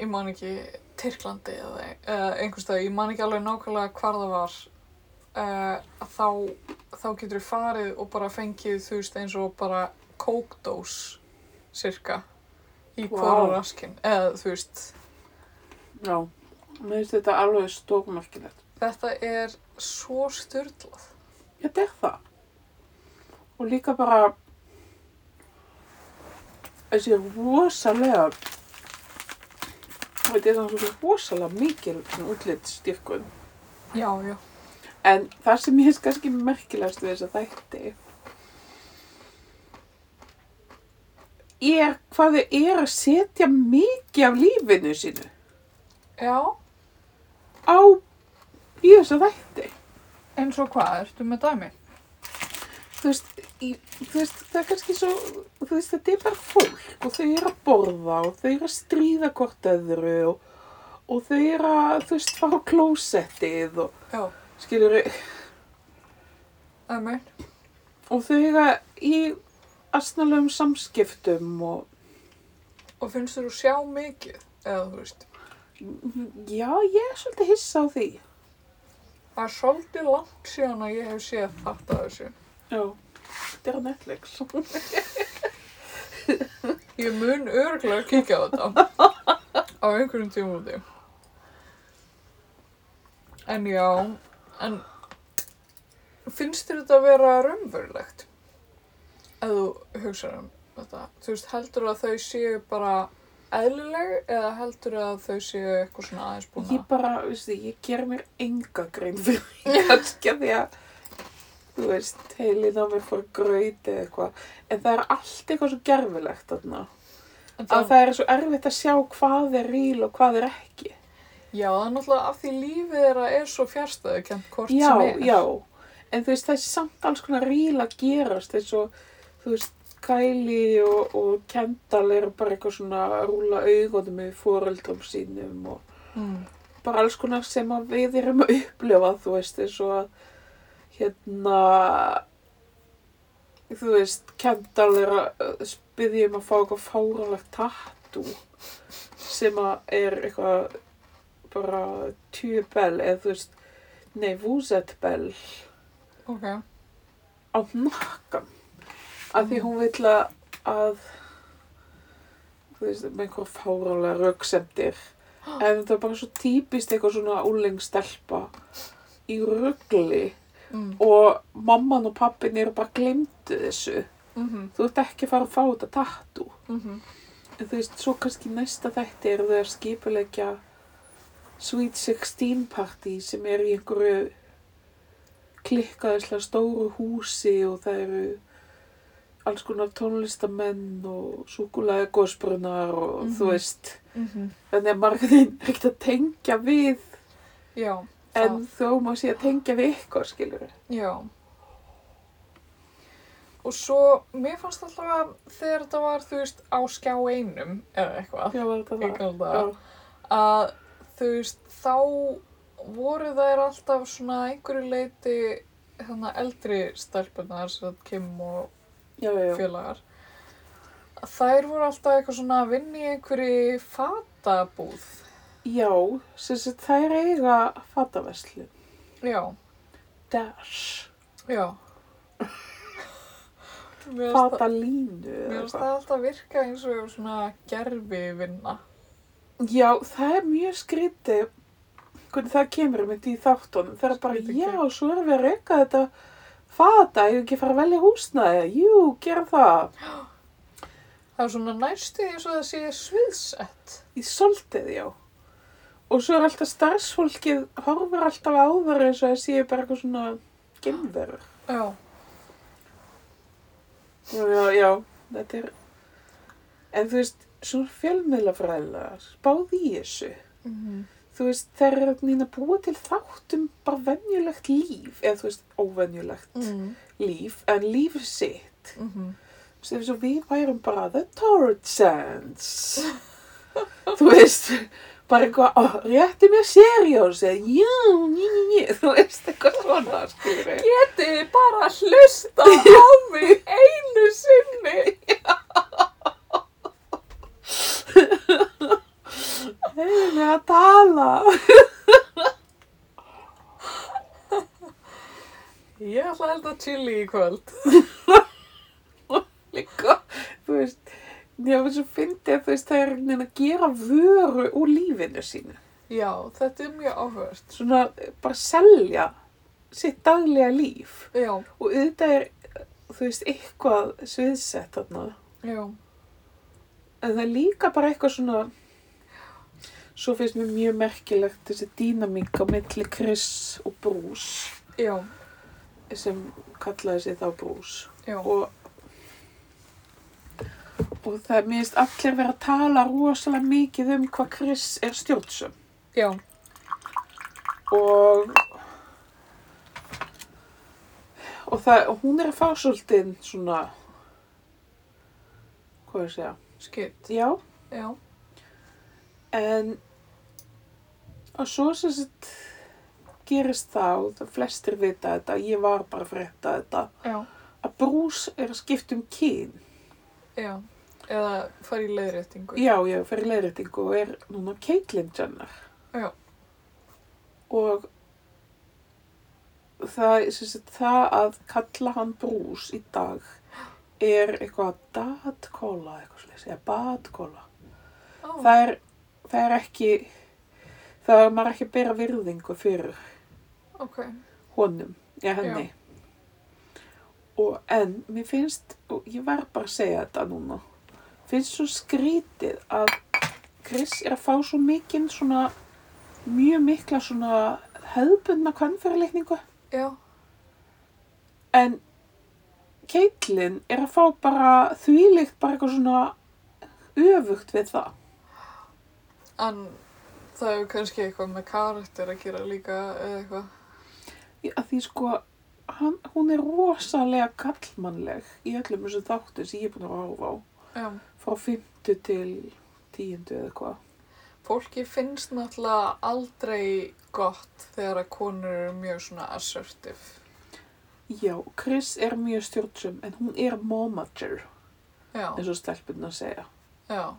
[SPEAKER 1] ég man ekki Tyrklandi eða, eða einhvers dag ég man ekki alveg nákvæmlega hvar það var uh, þá þá getur við farið og bara fengið þú veist eins og bara kókdós cirka í
[SPEAKER 2] Vá.
[SPEAKER 1] wow. hvora raskin eða þú veist
[SPEAKER 2] Já. Mér finnst þetta alveg stórmerkilegt.
[SPEAKER 1] þetta er svo styrlað
[SPEAKER 2] Þetta er það. Og líka bara þessi rosalega þetta er svona rosalega mikil útlitt styrkun.
[SPEAKER 1] já, já,
[SPEAKER 2] En það sem ég finnst kannski merkilegast við þessa þætti er hvað þau er að setja mikið af lífinu sínu
[SPEAKER 1] já
[SPEAKER 2] á í þessa þætti.
[SPEAKER 1] eins og hvað, ertu með dæmi?
[SPEAKER 2] Þú veist, í, þú veist, það er kannski svo, þú veist, þetta er bara fólk og þau eru að borða og þau eru að stríða hvort öðru og, og þau eru að, þú veist, fara á klósettið og
[SPEAKER 1] já,
[SPEAKER 2] skilur
[SPEAKER 1] dæmi
[SPEAKER 2] og þau eru í asnalegum samskiptum og
[SPEAKER 1] og finnst þú sjá mikið eða þú veist
[SPEAKER 2] Já, ég er svolítið hissa á því.
[SPEAKER 1] Það er svolítið langt síðan að ég hef séð þetta af þessu.
[SPEAKER 2] Já. Þetta er á Netflix.
[SPEAKER 1] Ég mun örglega kíkja á þetta á einhverjum tímúti. En já, en finnst þér þetta að vera raunverulegt? Ef þú hugsar um þetta. Þú veist, heldur að þau séu bara eðlileg eða heldur að þau séu eitthvað svona aðeins búin
[SPEAKER 2] Ég
[SPEAKER 1] að...
[SPEAKER 2] bara, veistu, ég ger mér enga grein fyrir því kannski að því að, þú veist, heilin á mér fór gröyti eða eitthvað. En það er allt eitthvað svo gerfilegt þarna.
[SPEAKER 1] En
[SPEAKER 2] Að það er svo erfitt að sjá hvað er ríl og hvað er ekki.
[SPEAKER 1] Já, það er náttúrulega af því lífið þeirra er svo fjárstæðu kent hvort
[SPEAKER 2] Já,
[SPEAKER 1] sem er.
[SPEAKER 2] já. En þú veist, það er samt alls konar ríl að gerast eins og, þú veist, Kylie og, og Kendall eru bara eitthvað svona að rúla augunum í foreldrum sínum og
[SPEAKER 1] Mm.
[SPEAKER 2] bara alls konar sem að við erum að upplifa, þú veist, eins og að hérna þú uh, veist, Kendall er að byggja um að fá eitthvað fáralegt tattoo sem að er eitthvað bara tjubel eða þú veist, nei, vúzetbel
[SPEAKER 1] Ok.
[SPEAKER 2] á nakkan af því hún vill að að þú veist, með einhver fárálega röksemdir en þetta er bara svo típist eitthvað svona úlengstelpa í ruggli
[SPEAKER 1] Mm.
[SPEAKER 2] og mamman og pappin eru bara glemdu þessu
[SPEAKER 1] Mhm.
[SPEAKER 2] þú ert ekki að fara að fá þetta tattoo
[SPEAKER 1] Mhm.
[SPEAKER 2] en þú veist, svo kannski í næsta þætti eru þau að skipulegja Sweet 16 party sem er í einhverju klikkaðislega stóru húsi og það eru alls konar tónlistamenn og súkulega gósbrunnar og
[SPEAKER 1] Mhm.
[SPEAKER 2] þú veist
[SPEAKER 1] Mhm.
[SPEAKER 2] þannig að maður er ekkert að tengja við
[SPEAKER 1] Já.
[SPEAKER 2] en þó má sé að tengja við eitthvað skilur
[SPEAKER 1] Já. Og svo, mér fannst alltaf að þegar þetta var, þú veist, á skjá einum eða eitthvað,
[SPEAKER 2] Já, var þetta
[SPEAKER 1] ég
[SPEAKER 2] það?
[SPEAKER 1] kallar
[SPEAKER 2] Já.
[SPEAKER 1] það, að þú veist, þá voru þær alltaf svona að einhverju leiti þannig eldri stelpunar sem sagt Kim og
[SPEAKER 2] Já, já, já.
[SPEAKER 1] félagar að þær voru alltaf eitthvað svona að vinna í einhverju fatabúð
[SPEAKER 2] Já, sem sagt þær eiga fataverslu.
[SPEAKER 1] já,
[SPEAKER 2] Dash.
[SPEAKER 1] já mér finnst það-
[SPEAKER 2] Fatalínu. eða
[SPEAKER 1] mér finnst
[SPEAKER 2] eitthvað.
[SPEAKER 1] það alltaf virka eins og svona gerfi vinna
[SPEAKER 2] Já, það er mjög skrítið hvernig það kemur um þetta í þáttunum. Það er bara,
[SPEAKER 1] Skrítið
[SPEAKER 2] já,
[SPEAKER 1] kemur.
[SPEAKER 2] svo erum við að reyka þetta fata, ég ekki að fara að velja húsnaði. Jú, gerum það.
[SPEAKER 1] það er svona næstuð eins og það sé sviðsett
[SPEAKER 2] Í soldið, já. Og svo er alltaf starfsfólkið, horfur alltaf á þar eins og það séu bara eitthvað svona gemverur.
[SPEAKER 1] já,
[SPEAKER 2] Já, já, já, þetta er, en þú veist, svona fjölmiðlafræðilegar, spáð í þessu.
[SPEAKER 1] mhm,
[SPEAKER 2] Þú veist, þær eru að neina búa til þáttum bara venjulegt líf, eða þú veist, óvenjulegt
[SPEAKER 1] mhm,
[SPEAKER 2] líf, en líf sitt.
[SPEAKER 1] mhm,
[SPEAKER 2] Þú veist, eins og við værum bara The Torrid Sands. þú veist, bara eitthvað, ó, rétti mér seriós, eða já, ný, ný, ný, þú veist, eitthvað svona, skilur ég.
[SPEAKER 1] Getiði bara að hlusta á mig einu sinni.
[SPEAKER 2] Hefur mig að tala.
[SPEAKER 1] Ég ætla að held að chili í kvöld.
[SPEAKER 2] líka, þú veist, ég finnst svo fyndið að þú veist, það er einhvern veginn að gera vöru úr lífinu sínu.
[SPEAKER 1] Já, þetta er mjög áhört.
[SPEAKER 2] Svona eh, bara selja sitt daglega líf
[SPEAKER 1] Já,
[SPEAKER 2] og auðvitað er, þú veist, eitthvað sviðsett þarna.
[SPEAKER 1] já,
[SPEAKER 2] En það er líka bara eitthvað svona, svo finnst mér mjög merkilegt þessi dýnamík á milli Chris og Bruce
[SPEAKER 1] já,
[SPEAKER 2] sem kallaði sig þá Bruce.
[SPEAKER 1] já,
[SPEAKER 2] og og það minnst allir vera að tala rosalega mikið um hvað Chris er stjórnsum
[SPEAKER 1] já,
[SPEAKER 2] og og það, og hún er að fá svolítið svona hvað er að segja
[SPEAKER 1] skipt,
[SPEAKER 2] já,
[SPEAKER 1] já,
[SPEAKER 2] en og svo sem sett gerist þá, það flestir vita þetta ég var bara að frétta þetta
[SPEAKER 1] já,
[SPEAKER 2] að Bruce er að skipta um kyn
[SPEAKER 1] já. Eða fara í leiðréttingu.
[SPEAKER 2] Já, ég fer í leiðréttingu og er núna Caitlyn Jenner.
[SPEAKER 1] Já.
[SPEAKER 2] Og það, sem sagt, það að kalla hann brús í dag er eitthvað datkóla eitthvað slags, eða batkóla.
[SPEAKER 1] Ó,
[SPEAKER 2] Það er, það er ekki, það er maður ekki að bera virðingu fyrir
[SPEAKER 1] ok.
[SPEAKER 2] honum, eða henni. Og en, mér finnst, og ég verð bara að segja þetta núna, finnst svo skrítið að Chris er að fá svo mikinn svona, mjög mikla svona hefðbundna kvannfyrirleikningu.
[SPEAKER 1] Já,
[SPEAKER 2] En Caitlyn er að fá bara þvílíkt bara eitthvað svona öfugt við það.
[SPEAKER 1] en það hefur kannski eitthvað með karakter að gera líka eða eitthvað.
[SPEAKER 2] Í- Að því sko, hann, hún er rosalega kallmannleg í öllum þessu þáttu sem ég er búin að horfa á.
[SPEAKER 1] Já.
[SPEAKER 2] frá 50 til 10 eða hvað.
[SPEAKER 1] Fólki finnst náttúrulega aldrei gott þegar að konur eru mjög svona assertive.
[SPEAKER 2] Já, Chris er mjög stjórnsum en hún er momager,
[SPEAKER 1] Já,
[SPEAKER 2] eins og stelpunna segja.
[SPEAKER 1] já,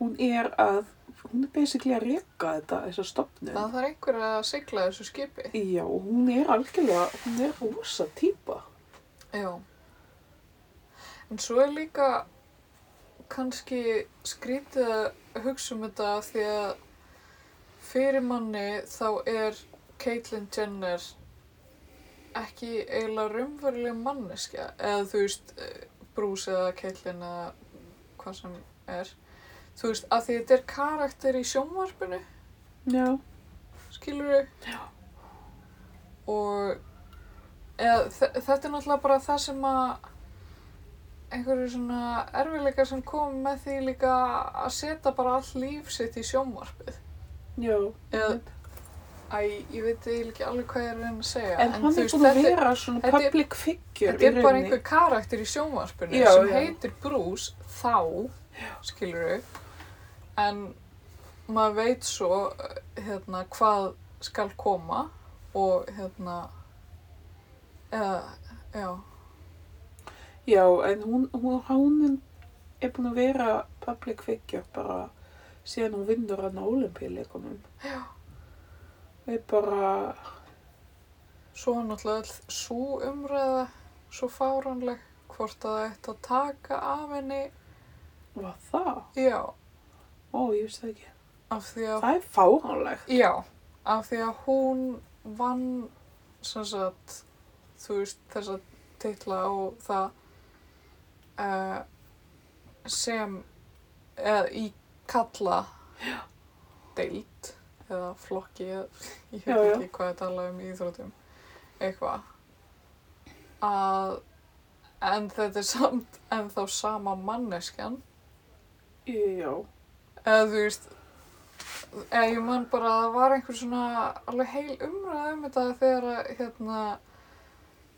[SPEAKER 2] hún er að, hún er basically að reka þetta, þessa stopnum.
[SPEAKER 1] Það þarf einhver að sigla þessu skipi.
[SPEAKER 2] Já, og hún er algjörlega, hún er rosa típa.
[SPEAKER 1] Já. En svo er líka kannski skrítið að hugsa um þetta af því að fyrir manni þá er Caitlyn Jenner ekki eiginlega raunveruleg manneskja eða þú veist eh, Bruce eða Caitlyn eða hvað sem er þú veist af því þetta er karakter í sjónvarpinu
[SPEAKER 2] Já.
[SPEAKER 1] skilur við
[SPEAKER 2] Já.
[SPEAKER 1] og eða, þe- þetta er náttúrulega bara það sem að einhverju svona erfileika sem kom með því líka að setja bara all líf sitt í sjónvarpið
[SPEAKER 2] Já.
[SPEAKER 1] eða
[SPEAKER 2] Mhm.
[SPEAKER 1] Æ, ég veit eiginlega ekki alveg hvað ég er að reyna að segja
[SPEAKER 2] En hann
[SPEAKER 1] þú
[SPEAKER 2] er
[SPEAKER 1] veist,
[SPEAKER 2] búin að
[SPEAKER 1] þetta er-
[SPEAKER 2] vera svona
[SPEAKER 1] þetta er-
[SPEAKER 2] public figure
[SPEAKER 1] Þetta er bara einhver karakter í sjónvarpinu
[SPEAKER 2] Já,
[SPEAKER 1] sem
[SPEAKER 2] já.
[SPEAKER 1] heitir Bruce þá, skilur við, en maður veit svo eh, hérna, hvað skal koma og hérna, eða, já,
[SPEAKER 2] Já, en hún, hún, hún er búin að vera public figure bara síðan hún vinnur hann á olimpíuleikunum. Já. Það er bara,
[SPEAKER 1] svo er náttúrulega all svo umræða, svo fáranleg, hvort að það ætti að taka af henni,
[SPEAKER 2] var það?
[SPEAKER 1] já,
[SPEAKER 2] Ó, ég veist það ekki.
[SPEAKER 1] af því að
[SPEAKER 2] Það er fáránlegt.
[SPEAKER 1] Já, af því að hún vann sem sagt, þú veist, þessa titla og það uh, sem eða í kalla deild eða flokki eða, ég
[SPEAKER 2] Já,
[SPEAKER 1] veit
[SPEAKER 2] já.
[SPEAKER 1] ekki hvað ég tala um í íþrótum eitthvað að en þetta er samt en þá sama manneskjan
[SPEAKER 2] Já.
[SPEAKER 1] eða þú veist eða ég man bara að það var einhver svona alveg heil umræða um þetta þegar að hérna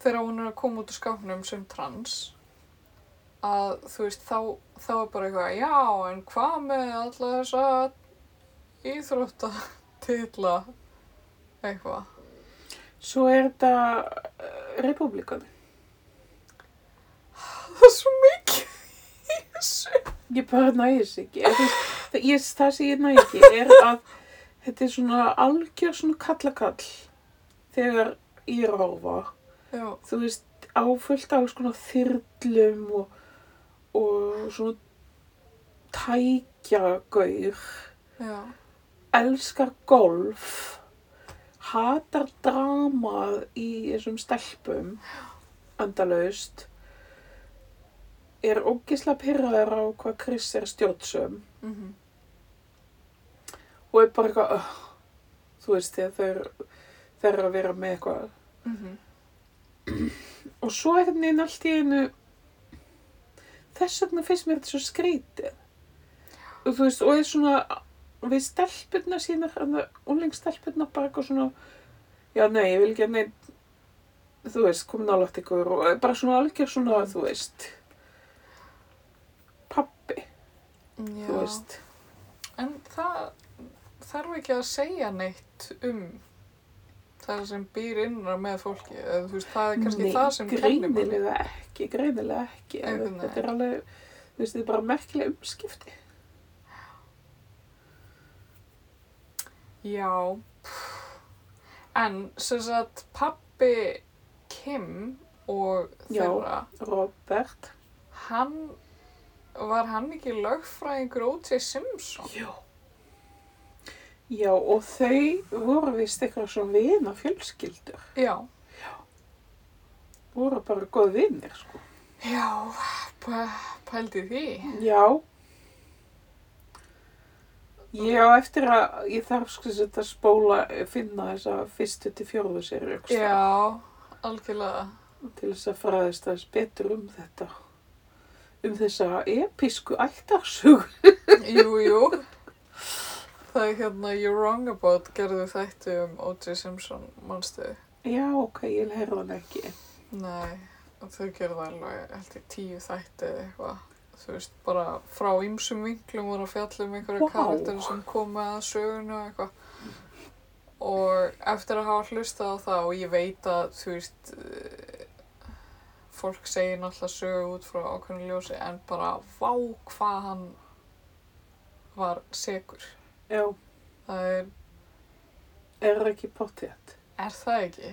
[SPEAKER 1] þegar hún er að koma út úr skápnum sem trans að þú veist þá, þá er bara eitthvað já en hvað með alla þessa íþróttatitla eitthvað
[SPEAKER 2] Svo er þetta uh, republikani.
[SPEAKER 1] það er svo mikið í þessu
[SPEAKER 2] Ég bara næðis ekki. Ég, það, ég, það sem ég næði ekki er að þetta er svona algjör svona kallakall þegar ég er að horfa.
[SPEAKER 1] já,
[SPEAKER 2] Þú veist, áfullt af alls konar þyrlum og, og svona tækjagaur.
[SPEAKER 1] já,
[SPEAKER 2] Elskar golf. Hatar dramað í þessum stelpum. Andalaust. Er ógislega pyrraður á hvað Chris er stjórnsum.
[SPEAKER 1] mhm
[SPEAKER 2] og er bara eitthvað uh, þú veist þegar þeir, þeir eru að vera með eitthvað
[SPEAKER 1] mhm,
[SPEAKER 2] og svo er þetta neina allt í einu þess vegna finnst mér þetta svo skrítið og þú veist og er svona við stelpurna sínar unlingstelpurna bara eitthvað svona já nei ég vil ekki að neinn þú veist komin álagt ykkur og er bara svona algjör svona
[SPEAKER 1] Mm.
[SPEAKER 2] þú veist pappi
[SPEAKER 1] já
[SPEAKER 2] þú veist
[SPEAKER 1] En það þarf ekki að segja neitt um það sem býr innra með fólki. Eða, þú veist, það er kannski það sem kennir manni.
[SPEAKER 2] greinilega ekki, greinilega ekki.
[SPEAKER 1] Einhvern
[SPEAKER 2] Þetta er alveg, þú veist, þetta er bara merkilega umskipti.
[SPEAKER 1] Já. En sem sagt pappi Kim og
[SPEAKER 2] Já.
[SPEAKER 1] þeirra,
[SPEAKER 2] Robert.
[SPEAKER 1] hann var hann ekki lögfræðingur O.J. Simpson?
[SPEAKER 2] Já. Já, og þau voru vist eitthvað svona vina fjölskyldur.
[SPEAKER 1] Já.
[SPEAKER 2] Voru bara góð vinir, sko.
[SPEAKER 1] Já, p- pældi því.
[SPEAKER 2] Já. Ég á eftir að, ég þarf sko þetta að spóla, finna þessa fyrstu til fjórðu sér
[SPEAKER 1] Já, algjörlega.
[SPEAKER 2] til þess að fræðast aðeins betur um þetta. Um þessa episku ættarsug.
[SPEAKER 1] Jú, jú. Það er hérna You're Wrong About gerðu þætti um O.J. Simpson, manstu?
[SPEAKER 2] Já, ok, ég heyrði hann ekki.
[SPEAKER 1] Nei, og þau gerðu alveg, held ég, tíu þætti eða eitthvað. Þú veist, bara frá ýmsum vinklum voru að fjalla um einhverja
[SPEAKER 2] Vá.
[SPEAKER 1] wow. karakterin sem komu að sögunu og eitthvað. Og eftir að hafa hlustað á það og ég veit að, þú veist, eh, fólk segir náttúrulega sögu út frá ákveðinu ljósi en bara vá hvað hann var segur.
[SPEAKER 2] Já,
[SPEAKER 1] Það er,
[SPEAKER 2] er það ekki potið?
[SPEAKER 1] er það ekki?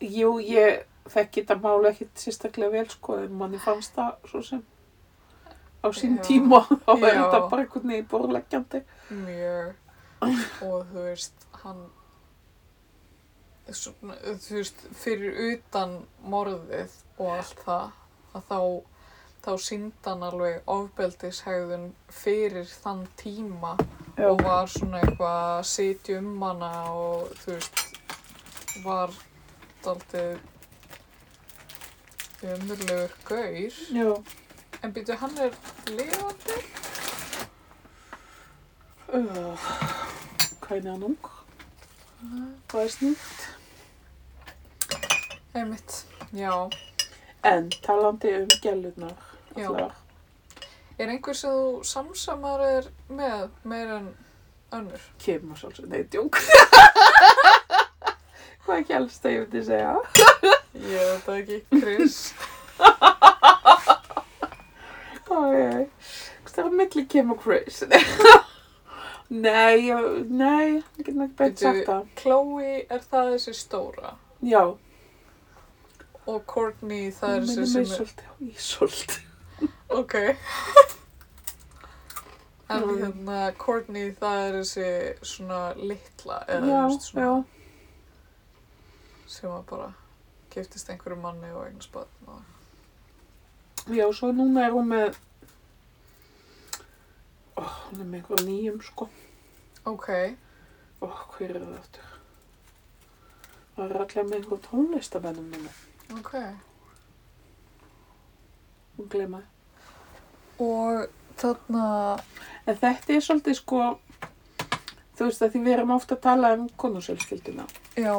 [SPEAKER 2] Jú, ég þekki þetta máli ekkit sérstaklega vel sko en manni fannst það svo sem á sín
[SPEAKER 1] Já.
[SPEAKER 2] tíma þá er
[SPEAKER 1] Já.
[SPEAKER 2] þetta bara einhvern veginn borleggjandi.
[SPEAKER 1] mjög og þú veist hann svona, þú veist fyrir utan morðið og allt það að þá þá síndi hann alveg ofbeldishegðun fyrir þann tíma
[SPEAKER 2] Já,
[SPEAKER 1] og var svona eitthvað að sitja um hana og þú veist var daldið umurlegur gaur
[SPEAKER 2] já.
[SPEAKER 1] en býtu hann er lifandi
[SPEAKER 2] Uh, keine Ahnung. Weiß nicht.
[SPEAKER 1] einmitt, já
[SPEAKER 2] En talandi um gælunar.
[SPEAKER 1] Já.
[SPEAKER 2] allar.
[SPEAKER 1] Er einhver sem þú samsamar er með meir en önnur?
[SPEAKER 2] Kemur svolítið, nei, djók. Hvað gælst það ég myndi segja?
[SPEAKER 1] Ég veit það ekki, Chris.
[SPEAKER 2] Æ, Það er að milli Kim og Chris. nei, ég- nei, ég get ekki beint
[SPEAKER 1] Bíddu.
[SPEAKER 2] sagt það.
[SPEAKER 1] Chloe er það þessi stóra
[SPEAKER 2] Já,
[SPEAKER 1] og Courtney það er
[SPEAKER 2] minnir
[SPEAKER 1] þessi
[SPEAKER 2] mig
[SPEAKER 1] sem er...
[SPEAKER 2] svolítið á Ísolt.
[SPEAKER 1] Ok. En
[SPEAKER 2] Mm.
[SPEAKER 1] hérna, Courtney það er þessi svona litla eða þú
[SPEAKER 2] Já,
[SPEAKER 1] veist,
[SPEAKER 2] já,
[SPEAKER 1] svona sem að bara giftist einhverju manni og eignas barn og...
[SPEAKER 2] já, svo núna er hún með, ó, hún er með einhverjum nýjum sko.
[SPEAKER 1] Ok,
[SPEAKER 2] Ó, hver er það aftur? Það er allir með einhverjum tónlistamennum núna.
[SPEAKER 1] ok.
[SPEAKER 2] Hún gleyma það.
[SPEAKER 1] Og þarna...
[SPEAKER 2] En þetta er svolítið sko, þú veist að því við erum ofta að tala um konusjölskylduna.
[SPEAKER 1] Já,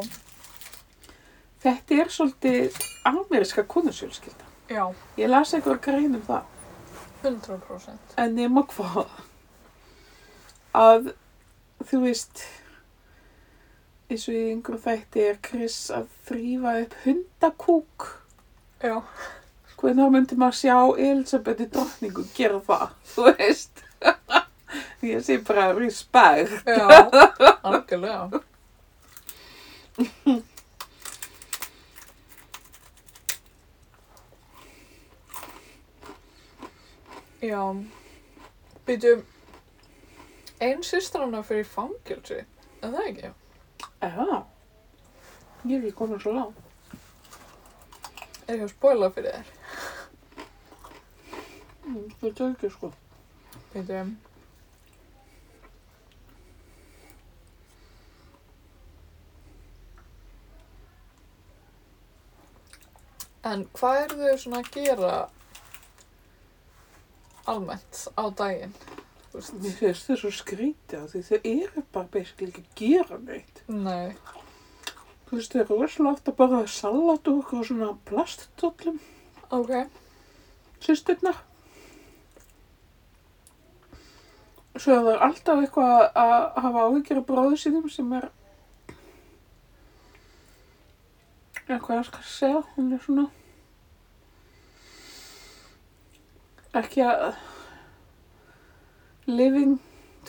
[SPEAKER 2] Þetta er svolítið ameríska konusjölskylda.
[SPEAKER 1] já,
[SPEAKER 2] Ég las einhver grein um það,
[SPEAKER 1] 100%.
[SPEAKER 2] en nema hvað að þú veist eins og í einhver þætti er Chris að þrýfa upp hundakúk
[SPEAKER 1] Já,
[SPEAKER 2] hvernig myndi maður sjá Elisabethi drottningu gera það, þú veist ég sé bara respect
[SPEAKER 1] já, algjörlega. Já, byrju, ein sýstur hana fyrir fangjölsi, er það ekki?
[SPEAKER 2] Já, ég er ekki komin svo langt
[SPEAKER 1] Er ég að spoila fyrir þér?
[SPEAKER 2] Mm, þú veit það ekki sko
[SPEAKER 1] Byrju, en hvað eru þau svona að gera almennt á daginn? Þú
[SPEAKER 2] Mér
[SPEAKER 1] veist,
[SPEAKER 2] finnst þau svo skrítið af því þau eru bara basically ekki að gera neitt
[SPEAKER 1] nei,
[SPEAKER 2] Þú veist, þau eru rosalega ofta bara að salat og okkur svona plastdollum,
[SPEAKER 1] ok,
[SPEAKER 2] sýstirnar. Svo það er alltaf eitthvað að hafa áhyggjur af bróðu sínum sem er eitthvað að skal segja, hún er svona ekki að living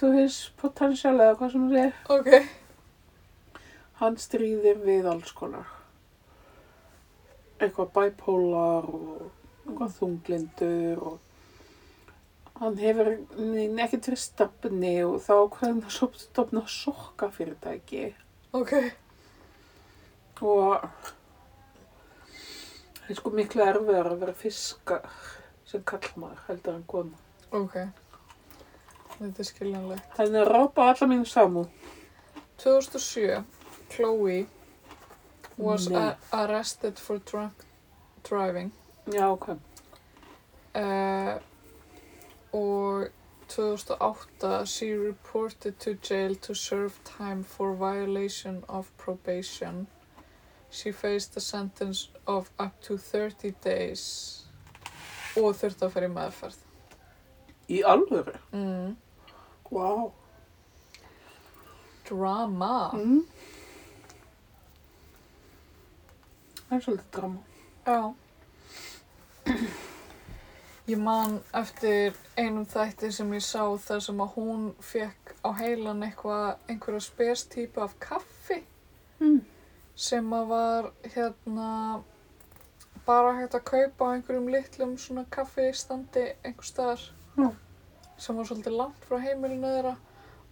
[SPEAKER 2] to his potential eða hvað sem það er.
[SPEAKER 1] ok,
[SPEAKER 2] hann stríðir við alls konar eitthvað bipolar og eitthvað þunglindur og hann hefur nein- ekkert fyrir stafni og þá hvernig hann að stofna sokka fyrirtæki
[SPEAKER 1] ok,
[SPEAKER 2] og það er sko miklu erfiðar að vera fiskar sem kallmaður heldur en kona
[SPEAKER 1] ok. Þetta er skiljanlegt.
[SPEAKER 2] hann er rápa alla mínu samú
[SPEAKER 1] 2007, Chloe was
[SPEAKER 2] Nei.
[SPEAKER 1] a- arrested for drunk driving
[SPEAKER 2] já ok
[SPEAKER 1] uh, og 2008 she reported to jail to serve time for violation of probation. She faced a sentence of up to 30 days og þurfti að fara í meðferð.
[SPEAKER 2] í alvöru
[SPEAKER 1] Mm.
[SPEAKER 2] wow.
[SPEAKER 1] Drama.
[SPEAKER 2] mm. það er svolítið drama
[SPEAKER 1] Já. Ég man eftir einum þætti sem ég sá þar sem að hún fekk á heilan eitthvað, einhverja spestýpu af kaffi
[SPEAKER 2] Mm.
[SPEAKER 1] sem að var hérna bara hægt að kaupa á einhverjum litlum svona kaffistandi einhvers staðar
[SPEAKER 2] Já.
[SPEAKER 1] sem var svolítið langt frá heimilinu þeirra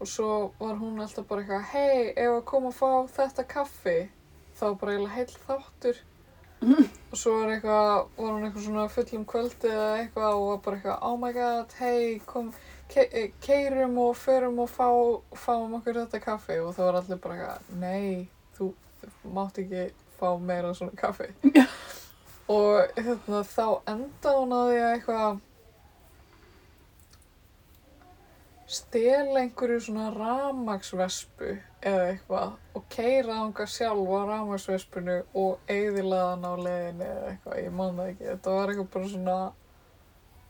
[SPEAKER 1] og svo var hún alltaf bara eitthvað hei, ef að koma að fá þetta kaffi þá var bara eiginlega heil þáttur og svo var eitthvað, var hún eitthvað svona fullum kvöldi eða eitthvað og var bara eitthvað oh my god, hei, kom ke eh, keyrum og förum og fá, fáum okkur þetta kaffi og þá var allir bara eitthvað, nei, þú, þú mátt ekki fá meira svona kaffi
[SPEAKER 2] Já.
[SPEAKER 1] og hérna, þá enda hún að því að eitthvað stela einhverju svona ramagsvespu eða eitthvað og keira þangað sjálf á ramagsvespinu og eigðilaða hann á leiðinni eða eitthvað, ég man það ekki þetta var eitthvað bara svona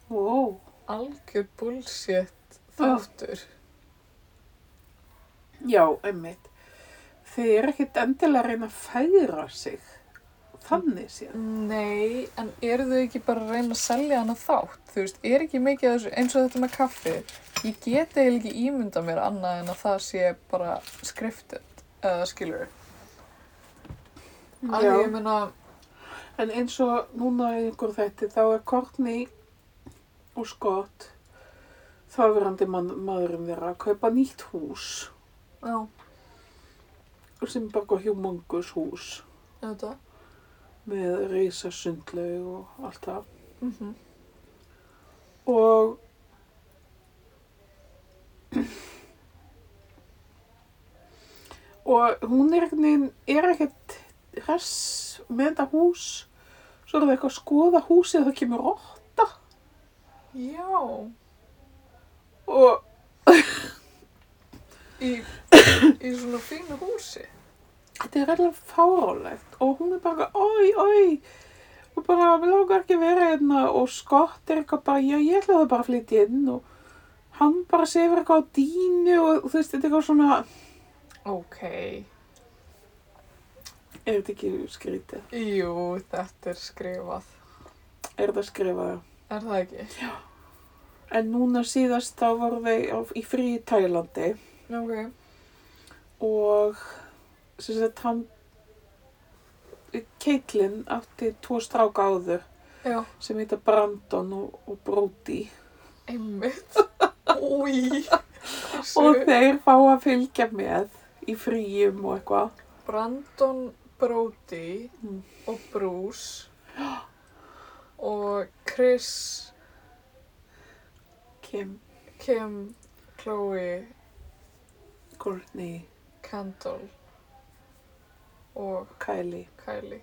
[SPEAKER 2] Wow.
[SPEAKER 1] algjör bullshit þáttur
[SPEAKER 2] Já, einmitt. Þið er ekkert endilega að reyna að færa sig. Þannig séð.
[SPEAKER 1] Nei, en eru þau ekki bara að reyna að selja hana þátt? Þú veist, er ekki mikið af þessu eins og þetta með kaffi? Ég get eiginlega ekki ímynda mér annað en að það sé bara skriftet eða skilur.
[SPEAKER 2] Mm.
[SPEAKER 1] Alveg, ég
[SPEAKER 2] Já.
[SPEAKER 1] meina,
[SPEAKER 2] En eins og núna í einhver þetta, þá er Courtney og Scott, þáverandi mann, maðurinn þeirra, að kaupa nýtt hús.
[SPEAKER 1] já,
[SPEAKER 2] Sem er bara eitthvað humongous hús
[SPEAKER 1] þetta.
[SPEAKER 2] með reisasundlaug og allt það.
[SPEAKER 1] Mm
[SPEAKER 2] og og hún er einhvern veginn er ekkert hress með þetta hús svo er það eitthvað að skoða húsið og það kemur rotta
[SPEAKER 1] Já,
[SPEAKER 2] og
[SPEAKER 1] í, í svona fínu húsi.
[SPEAKER 2] þetta er reyðlega fárálegt og hún er bara oi, oi og bara, við langar ekki að vera hérna og skott er eitthvað bara, já, ég ætla það bara að flytja inn og hann bara sefur eitthvað á dínu og þú veist, þetta er eitthvað svona
[SPEAKER 1] Ok,
[SPEAKER 2] er þetta ekki skrítið?
[SPEAKER 1] jú, þetta er skrifað.
[SPEAKER 2] Er þetta skrifaði?
[SPEAKER 1] Er það ekki?
[SPEAKER 2] En núna síðast þá voru þau á- í frí í Tælandi
[SPEAKER 1] Ok,
[SPEAKER 2] og sem sagt hann Caitlin átti tvo stráka áður
[SPEAKER 1] já,
[SPEAKER 2] sem heita Brandon og, og Brody
[SPEAKER 1] einmitt. Úi,
[SPEAKER 2] og þeir fá að fylgja með í fríum og eitthvað.
[SPEAKER 1] Brandon Brody
[SPEAKER 2] Mm.
[SPEAKER 1] og Bruce og Chris,
[SPEAKER 2] Kim,
[SPEAKER 1] Kim, Chloe,
[SPEAKER 2] Courtney,
[SPEAKER 1] Kendall og
[SPEAKER 2] Kylie
[SPEAKER 1] Kylie.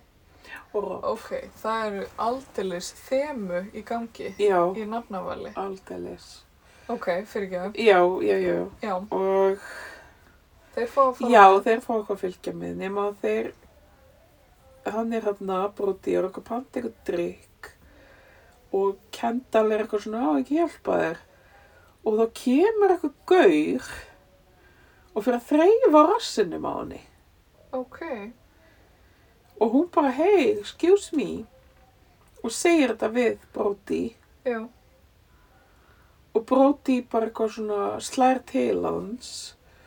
[SPEAKER 2] og Rob.
[SPEAKER 1] Ok, það eru aldeilis þemu í gangi
[SPEAKER 2] Já,
[SPEAKER 1] í nafnavali.
[SPEAKER 2] aldeilis.
[SPEAKER 1] Ok, fyrir ekki það.
[SPEAKER 2] Já, já, já.
[SPEAKER 1] Já,
[SPEAKER 2] Og
[SPEAKER 1] þeir fá að fara.
[SPEAKER 2] Já, þeir fá eitthvað að fylgja með nema að þeir hann er hann broti og eitthvað panta eitthvað drikk og Kendall er eitthvað svona á ekki hjálpa þér og þá kemur eitthvað gaur og fyrir að þreyfa rassinum á henni
[SPEAKER 1] Ok,
[SPEAKER 2] og hún bara hey, excuse me og segir þetta við broti
[SPEAKER 1] já,
[SPEAKER 2] og broti bara eitthvað svona slær til á hans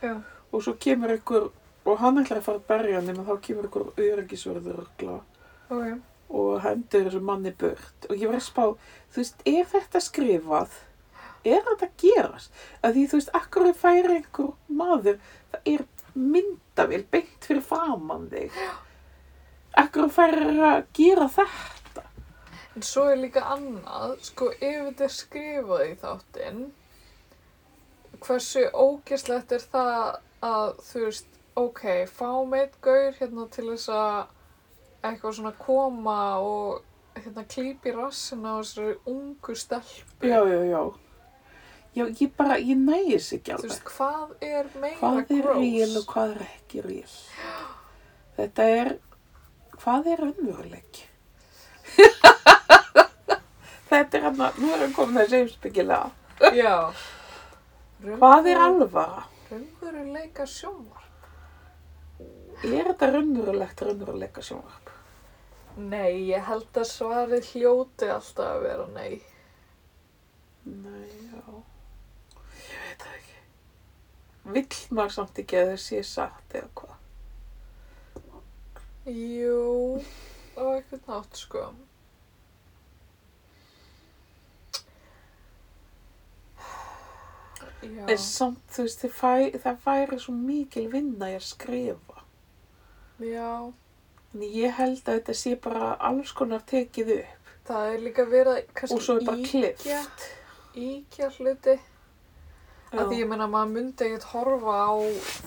[SPEAKER 1] já,
[SPEAKER 2] og svo kemur eitthvað og hann ætlar að fara að berja hann nema þá kemur eitthvað öryggisverður ögla
[SPEAKER 1] ok.
[SPEAKER 2] og hendur þessu manni burt og ég var að spá, þú veist, er þetta skrifað? Er þetta að gerast? Að því, þú veist, akkur færi einhver maður, það er myndavél beint fyrir framann þig. Akkur færi að gera þetta?
[SPEAKER 1] En svo er líka annað, sko, ef þetta er skrifað í þáttinn, hversu ógeslegt er það að, þú veist, ok, fáum eitt gaur hérna til þess að eitthvað svona koma og hérna klípi rassina á þessari ungu stelpu.
[SPEAKER 2] Já, já, já. Já, ég bara, ég nægis ekki
[SPEAKER 1] Þú
[SPEAKER 2] alveg.
[SPEAKER 1] veist, hvað er meira
[SPEAKER 2] Hvað er
[SPEAKER 1] gross?
[SPEAKER 2] real og hvað er ekki real? Þetta er, hvað er raunveruleik? þetta er hann að, nú erum komin þessi heimsbyggilega.
[SPEAKER 1] Já.
[SPEAKER 2] Hvað er alvara?
[SPEAKER 1] Raunveruleika sjónvarp?
[SPEAKER 2] Er þetta raunverulegt raunveruleika sjónvarp?
[SPEAKER 1] Nei, ég held að svarið hljóti alltaf að vera nei.
[SPEAKER 2] Nei, já. Ég veit það ekki. Vill maður samt ekki að það sé satt eða hvað?
[SPEAKER 1] Jú, á eitthvað nátt sko. Já,
[SPEAKER 2] En samt, þú veist, þið fæ, það væri svo mikil vinna í að skrifa.
[SPEAKER 1] já,
[SPEAKER 2] En ég held að þetta sé bara alls konar tekið upp.
[SPEAKER 1] það er líka verið að kannski
[SPEAKER 2] og svo er bara
[SPEAKER 1] ýkja,
[SPEAKER 2] klift.
[SPEAKER 1] ýkja hluti. Að því ég menna maður myndi ekkert horfa á,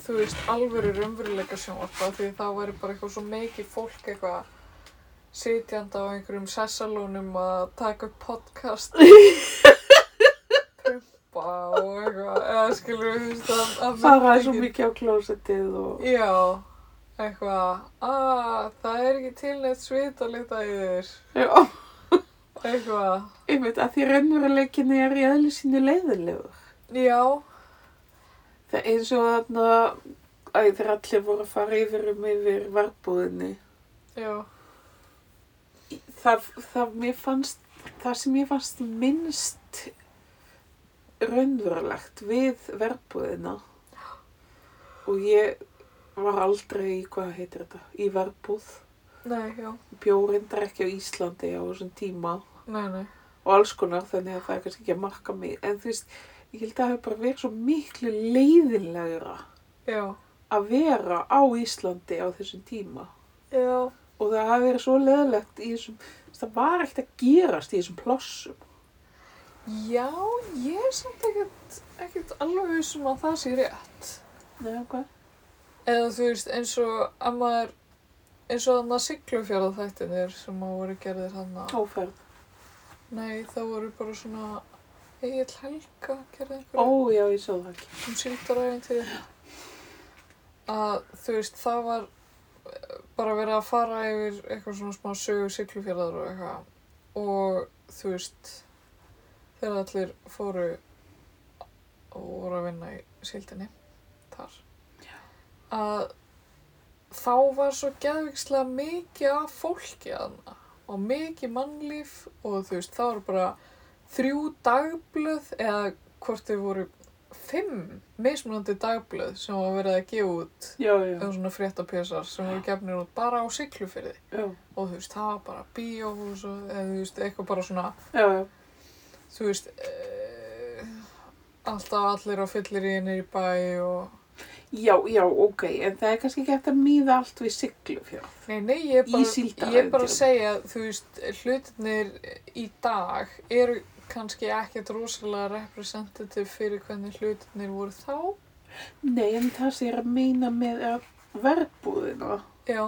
[SPEAKER 1] þú veist, alvöru raunveruleika sjónvarpa því það væri bara eitthvað svo mikið fólk eitthvað sitjandi á einhverjum sessalónum að taka upp podcast pumpa og eitthvað, eða skilur við, þú veist, að, að
[SPEAKER 2] faraði
[SPEAKER 1] myndi
[SPEAKER 2] svo
[SPEAKER 1] ekkert-
[SPEAKER 2] mikið á klósetið og...
[SPEAKER 1] Já, eitthvað, að það er ekki til neitt svit að lita í þér,
[SPEAKER 2] Já,
[SPEAKER 1] eitthvað,
[SPEAKER 2] ég veit að því raunveruleikinni er í aðli sínu leiðilegur.
[SPEAKER 1] já,
[SPEAKER 2] Það er eins og þarna að þeir allir voru að fara yfir um yfir verbúðinni.
[SPEAKER 1] já,
[SPEAKER 2] Það, það, mér fannst, það sem mér fannst minnst raunverulegt við verbúðina og ég var aldrei í, hvað heitir þetta, í verbúð.
[SPEAKER 1] nei, já,
[SPEAKER 2] Bjórindar ekki á Íslandi á þessum tíma.
[SPEAKER 1] nei, nei,
[SPEAKER 2] og alls konar þannig að það er kannski ekki að marka mig en þú veist, ég held að það hefur bara verið svo miklu leiðinlegra
[SPEAKER 1] já,
[SPEAKER 2] að vera á Íslandi á þessum tíma
[SPEAKER 1] já,
[SPEAKER 2] og það hafi verið svo leiðilegt í þessum það var ekkert að gerast í þessum plossum
[SPEAKER 1] já, ég er samt ekkert, ekkert alveg vissum að það sé rétt.
[SPEAKER 2] Nei, okay.
[SPEAKER 1] Eða þú veist, eins og að maður, eins og þannig að siglufjara þættinir sem að voru gerðir hann að,
[SPEAKER 2] Óferð
[SPEAKER 1] nei, það voru bara svona, Egil Helga gerði einhverju.
[SPEAKER 2] Ó, já, ég sá það ekki
[SPEAKER 1] um síldarævintýri að þú veist það var eh, bara verið að fara yfir eitthvað svona smá sögu siglufjörðar og eitthvað og þú veist þegar allir fóru og voru að vinna í síldinni þar að þá var svo geðvikslega mikið af fólki aðna og mikið mannlíf og þú veist það voru bara þrjú dagblöð eða hvort þau voru fimm mismunandi dagblöð sem var verið að gefa út
[SPEAKER 2] Já, já,
[SPEAKER 1] eða svona fréttapésar sem voru gefnir út bara á siglufyrði
[SPEAKER 2] já,
[SPEAKER 1] og þú veist, það var bara bíóhús og eða þú veist, eitthvað bara svona
[SPEAKER 2] já, já.
[SPEAKER 1] þú veist e alltaf allir á fyllir í nýri bæ og
[SPEAKER 2] Já, já, ok, en það er kannski ekki eftir að míða allt við siglufjörð.
[SPEAKER 1] nei, nei, ég er
[SPEAKER 2] Í
[SPEAKER 1] bara,
[SPEAKER 2] síldarævintýrum.
[SPEAKER 1] ég er bara að segja þú veist, hlutinir í dag eru kannski ekkert rosalega representative fyrir hvernig hlutinir voru þá
[SPEAKER 2] Nei, en það sem ég er að meina með að verbúðina,
[SPEAKER 1] já,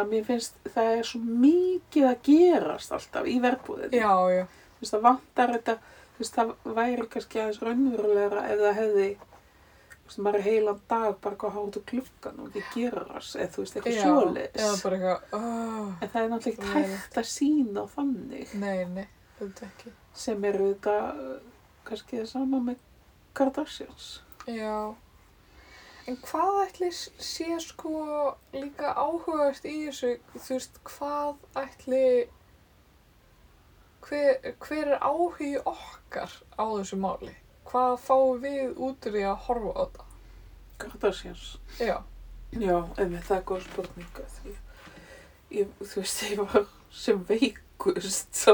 [SPEAKER 2] að mér finnst það er svo mikið að gerast alltaf í verbúðinni.
[SPEAKER 1] já, já,
[SPEAKER 2] Þú veist, það vantar þetta, þú veist, það væri kannski aðeins raunverulegra ef það hefði, þú veist, maður er heilan dag bara hvað hátu klukkan og ekki gerast, eða þú veist, eitthvað
[SPEAKER 1] já eða
[SPEAKER 2] svoleiðis.
[SPEAKER 1] bara eitthvað oh.
[SPEAKER 2] En það er náttúrulega
[SPEAKER 1] Nei.
[SPEAKER 2] ekki hægt að sína þannig
[SPEAKER 1] Nei, nei, þetta ekki.
[SPEAKER 2] sem eru þetta kannski það sama með Kardashians.
[SPEAKER 1] Já. En hvað ætli s- sé sko líka áhugast í þessu, þú veist, hvað ætli, hver, hver er áhugi okkar á þessu máli? Hvað fáum við út úr því að horfa á þetta?
[SPEAKER 2] Kardashians.
[SPEAKER 1] Já,
[SPEAKER 2] Já, en það er góð spurning að því ég, þú veist, ég var sem veikust svo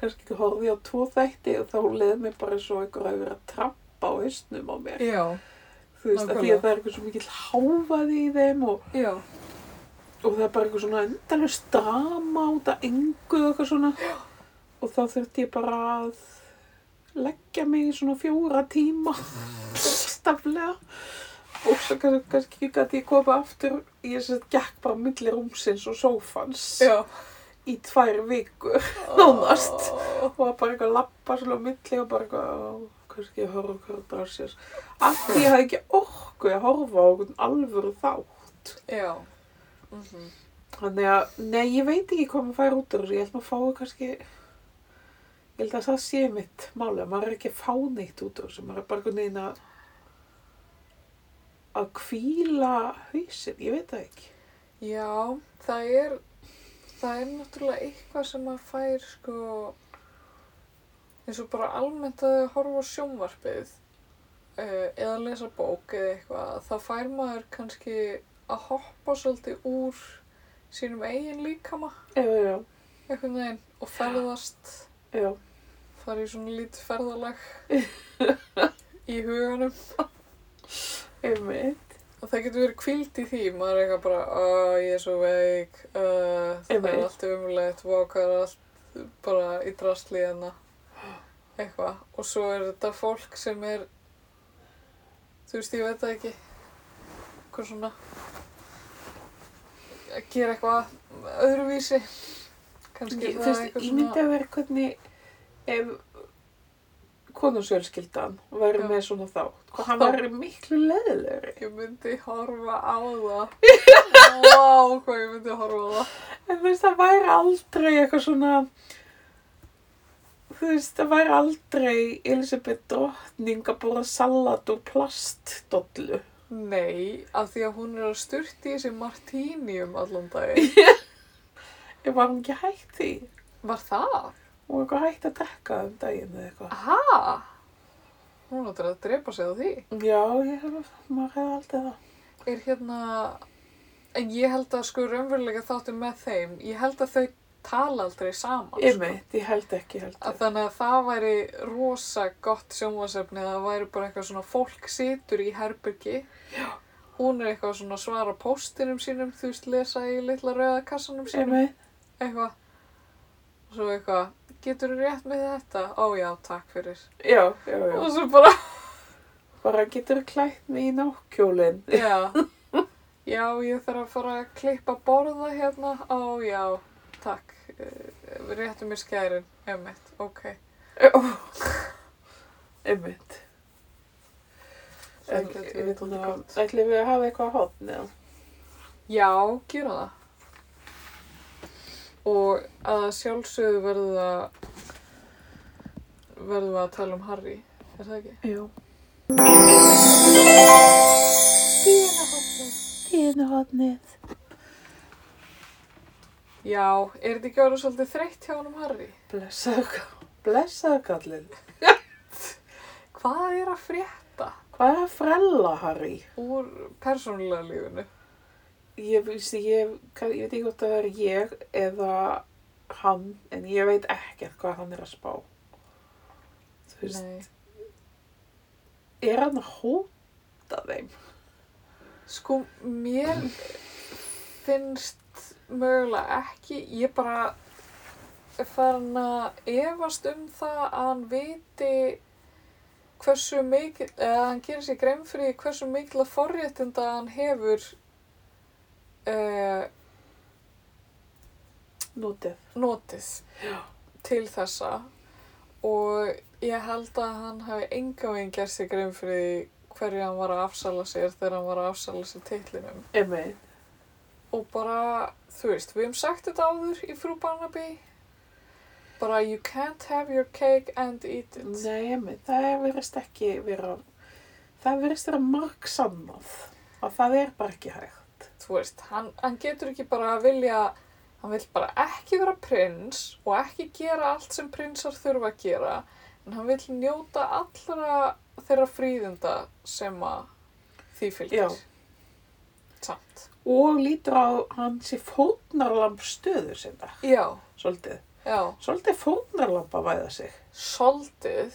[SPEAKER 2] kannski horfði ég á tvo þætti og þá leið mér bara svo einhver að vera að trampa á hausnum á mér
[SPEAKER 1] já,
[SPEAKER 2] þú veist, af því
[SPEAKER 1] nákvæmlega.
[SPEAKER 2] að það er eitthvað svo mikill háfaði í þeim og,
[SPEAKER 1] já,
[SPEAKER 2] og það er bara eitthvað svona endalust drama út af engu og eitthvað svona og þá þurfti ég bara að leggja mig í svona fjóra tíma staflega og svo kannski, kannski gæti ég koma aftur ég sem sagt gekk bara á milli rúmsins og sófans
[SPEAKER 1] já.
[SPEAKER 2] í tvær vikur Nánast. og var bara eitthvað að lappa svona á milli og bara eitthvað "Ó, kannski ég horfa okkur að dra sér af því ég hafði ekki orku að horfa á okkur alvöru þátt
[SPEAKER 1] Já. Mm -hmm.
[SPEAKER 2] þannig að, nei, ég veit ekki hvað maður fær út úr þessu, ég held maður fái kannski ég held að það sé mitt máli að maður er ekki að fá neitt út úr þessu maður er bara einhvern veginn að að kvíla hausinn, ég veit það ekki
[SPEAKER 1] Já, það er, það er náttúrulega eitthvað sem maður fær sko eins og bara almennt að þau horfa á sjónvarpið uh, eða lesa bók eða eitthvað, þá fær maður kannski að hoppa svolítið úr sínum eigin líkama
[SPEAKER 2] Já, já,
[SPEAKER 1] einhvern veginn og ferðast,
[SPEAKER 2] já.
[SPEAKER 1] fara í svona lítið ferðalag í huganum
[SPEAKER 2] Einmitt.
[SPEAKER 1] og það getur verið kvíld í því, maður er eitthvað bara, að ég er svo veik, uh, það er
[SPEAKER 2] Einmitt.
[SPEAKER 1] allt umulegt, vokar allt bara í drastli hérna, eitthvað. Og svo er þetta fólk sem er, þú veist, ég veit það ekki, eitthvað svona, að gera eitthvað öðruvísi, kannski
[SPEAKER 2] Ég,
[SPEAKER 1] er
[SPEAKER 2] þú
[SPEAKER 1] það
[SPEAKER 2] veist,
[SPEAKER 1] eitthvað
[SPEAKER 2] ímynda
[SPEAKER 1] svona,
[SPEAKER 2] að vera hvernig ef konungsjölskyldan væri
[SPEAKER 1] Já.
[SPEAKER 2] með svona þátt. Hvað hann væri miklu leðilegri.
[SPEAKER 1] ég myndi horfa á það, vá, hvað ég myndi horfa á það.
[SPEAKER 2] En þú veist, það væri aldrei eitthvað svona, þú veist, það væri aldrei Elisabeth drottning að bóra salat úr plastdollu.
[SPEAKER 1] Nei, af því að hún er að styrta í þessi martíni um allan dag.
[SPEAKER 2] Ég var hún ekki hægt því.
[SPEAKER 1] Var það?
[SPEAKER 2] Hún var eitthvað hægt að drekka um daginn eða eitthvað.
[SPEAKER 1] Aha! Hún áttur að drepa sig á því.
[SPEAKER 2] Já, ég hef, maður hefði aldrei það.
[SPEAKER 1] Er hérna... En ég held að sko raunverulega þáttur með þeim, ég held að þau tala aldrei saman.
[SPEAKER 2] Ég veit, ég held ekki, ég held
[SPEAKER 1] Sko. Að
[SPEAKER 2] ekki.
[SPEAKER 1] þannig að það væri rosa gott sjónvarsefni að það væri bara eitthvað svona fólk situr í herbyrgi. Já. Hún er eitthvað svona að svara póstinum sínum, þú veist, lesa í litla rauða kassanum
[SPEAKER 2] Ég
[SPEAKER 1] sínum.
[SPEAKER 2] veit,
[SPEAKER 1] eitthvað og svo eitthvað, getur þú rétt með þetta? Ó já, takk fyrir
[SPEAKER 2] já, já, já.
[SPEAKER 1] og svo bara,
[SPEAKER 2] Bara getur klætt mig í nákjólinn.
[SPEAKER 1] já já, ég þarf að fara að klippa borða hérna, ó já takk, Eh, réttu mér skærin emmett, ok
[SPEAKER 2] Einmitt. eh, hérna,
[SPEAKER 1] Það gæti verið dálítið gott.
[SPEAKER 2] Ætlum við að hafa eitthvað á hotn eða?
[SPEAKER 1] já, gera það og að sjálfsögðu verður það verður við að tala um Harry er það ekki?
[SPEAKER 2] Jú.
[SPEAKER 1] Díana hóttið
[SPEAKER 2] Tíðinu hotnið.
[SPEAKER 1] Já, er þetta ekki orðið svolítið þreytt hjá honum Harry?
[SPEAKER 2] Blessaðu kall- blessaðu kallinn.
[SPEAKER 1] Hvað er að frétta
[SPEAKER 2] Hvað er að frella, Harry?
[SPEAKER 1] úr persónulega lífinu?
[SPEAKER 2] Ég, veist, ég, kann- ég veit ekki hvort það er ég eða hann, en ég veit ekkert hvað hann er að spá. Þú veist,
[SPEAKER 1] Nei.
[SPEAKER 2] er hann að hóta þeim?
[SPEAKER 1] Sko, mér finnst mögulega ekki, ég bara er farin að efast um það að hann viti hversu mikil, eða hann gerir sér grein fyrir því hversu mikil að forréttinda hann hefur uh,
[SPEAKER 2] Nútið.
[SPEAKER 1] notið til þessa og ég held að hann hafi enga veginn gert sér grein fyrir því hverju hann var að afsala sér þegar hann var að afsala sér titlinum
[SPEAKER 2] Einmitt.
[SPEAKER 1] og bara, þú veist, við hefum sagt þetta áður í frú Barnaby bara you can't have your cake and eat it
[SPEAKER 2] Nei, einmitt. Það verðist ekki vera, það verðist vera marg sannað. Og það er bara ekki hægt.
[SPEAKER 1] þú veist, hann, hann getur ekki bara að vilja hann vil bara ekki vera prins og ekki gera allt sem prinsar þurfa að gera en hann vil njóta allra þeirra fríðinda sem að því fylgir
[SPEAKER 2] Já.
[SPEAKER 1] samt
[SPEAKER 2] Og lítur á hans í fórnarlamb stöðu sinna.
[SPEAKER 1] já,
[SPEAKER 2] Svolítið.
[SPEAKER 1] já,
[SPEAKER 2] Svolítið fórnarlamb að væða sig.
[SPEAKER 1] soldið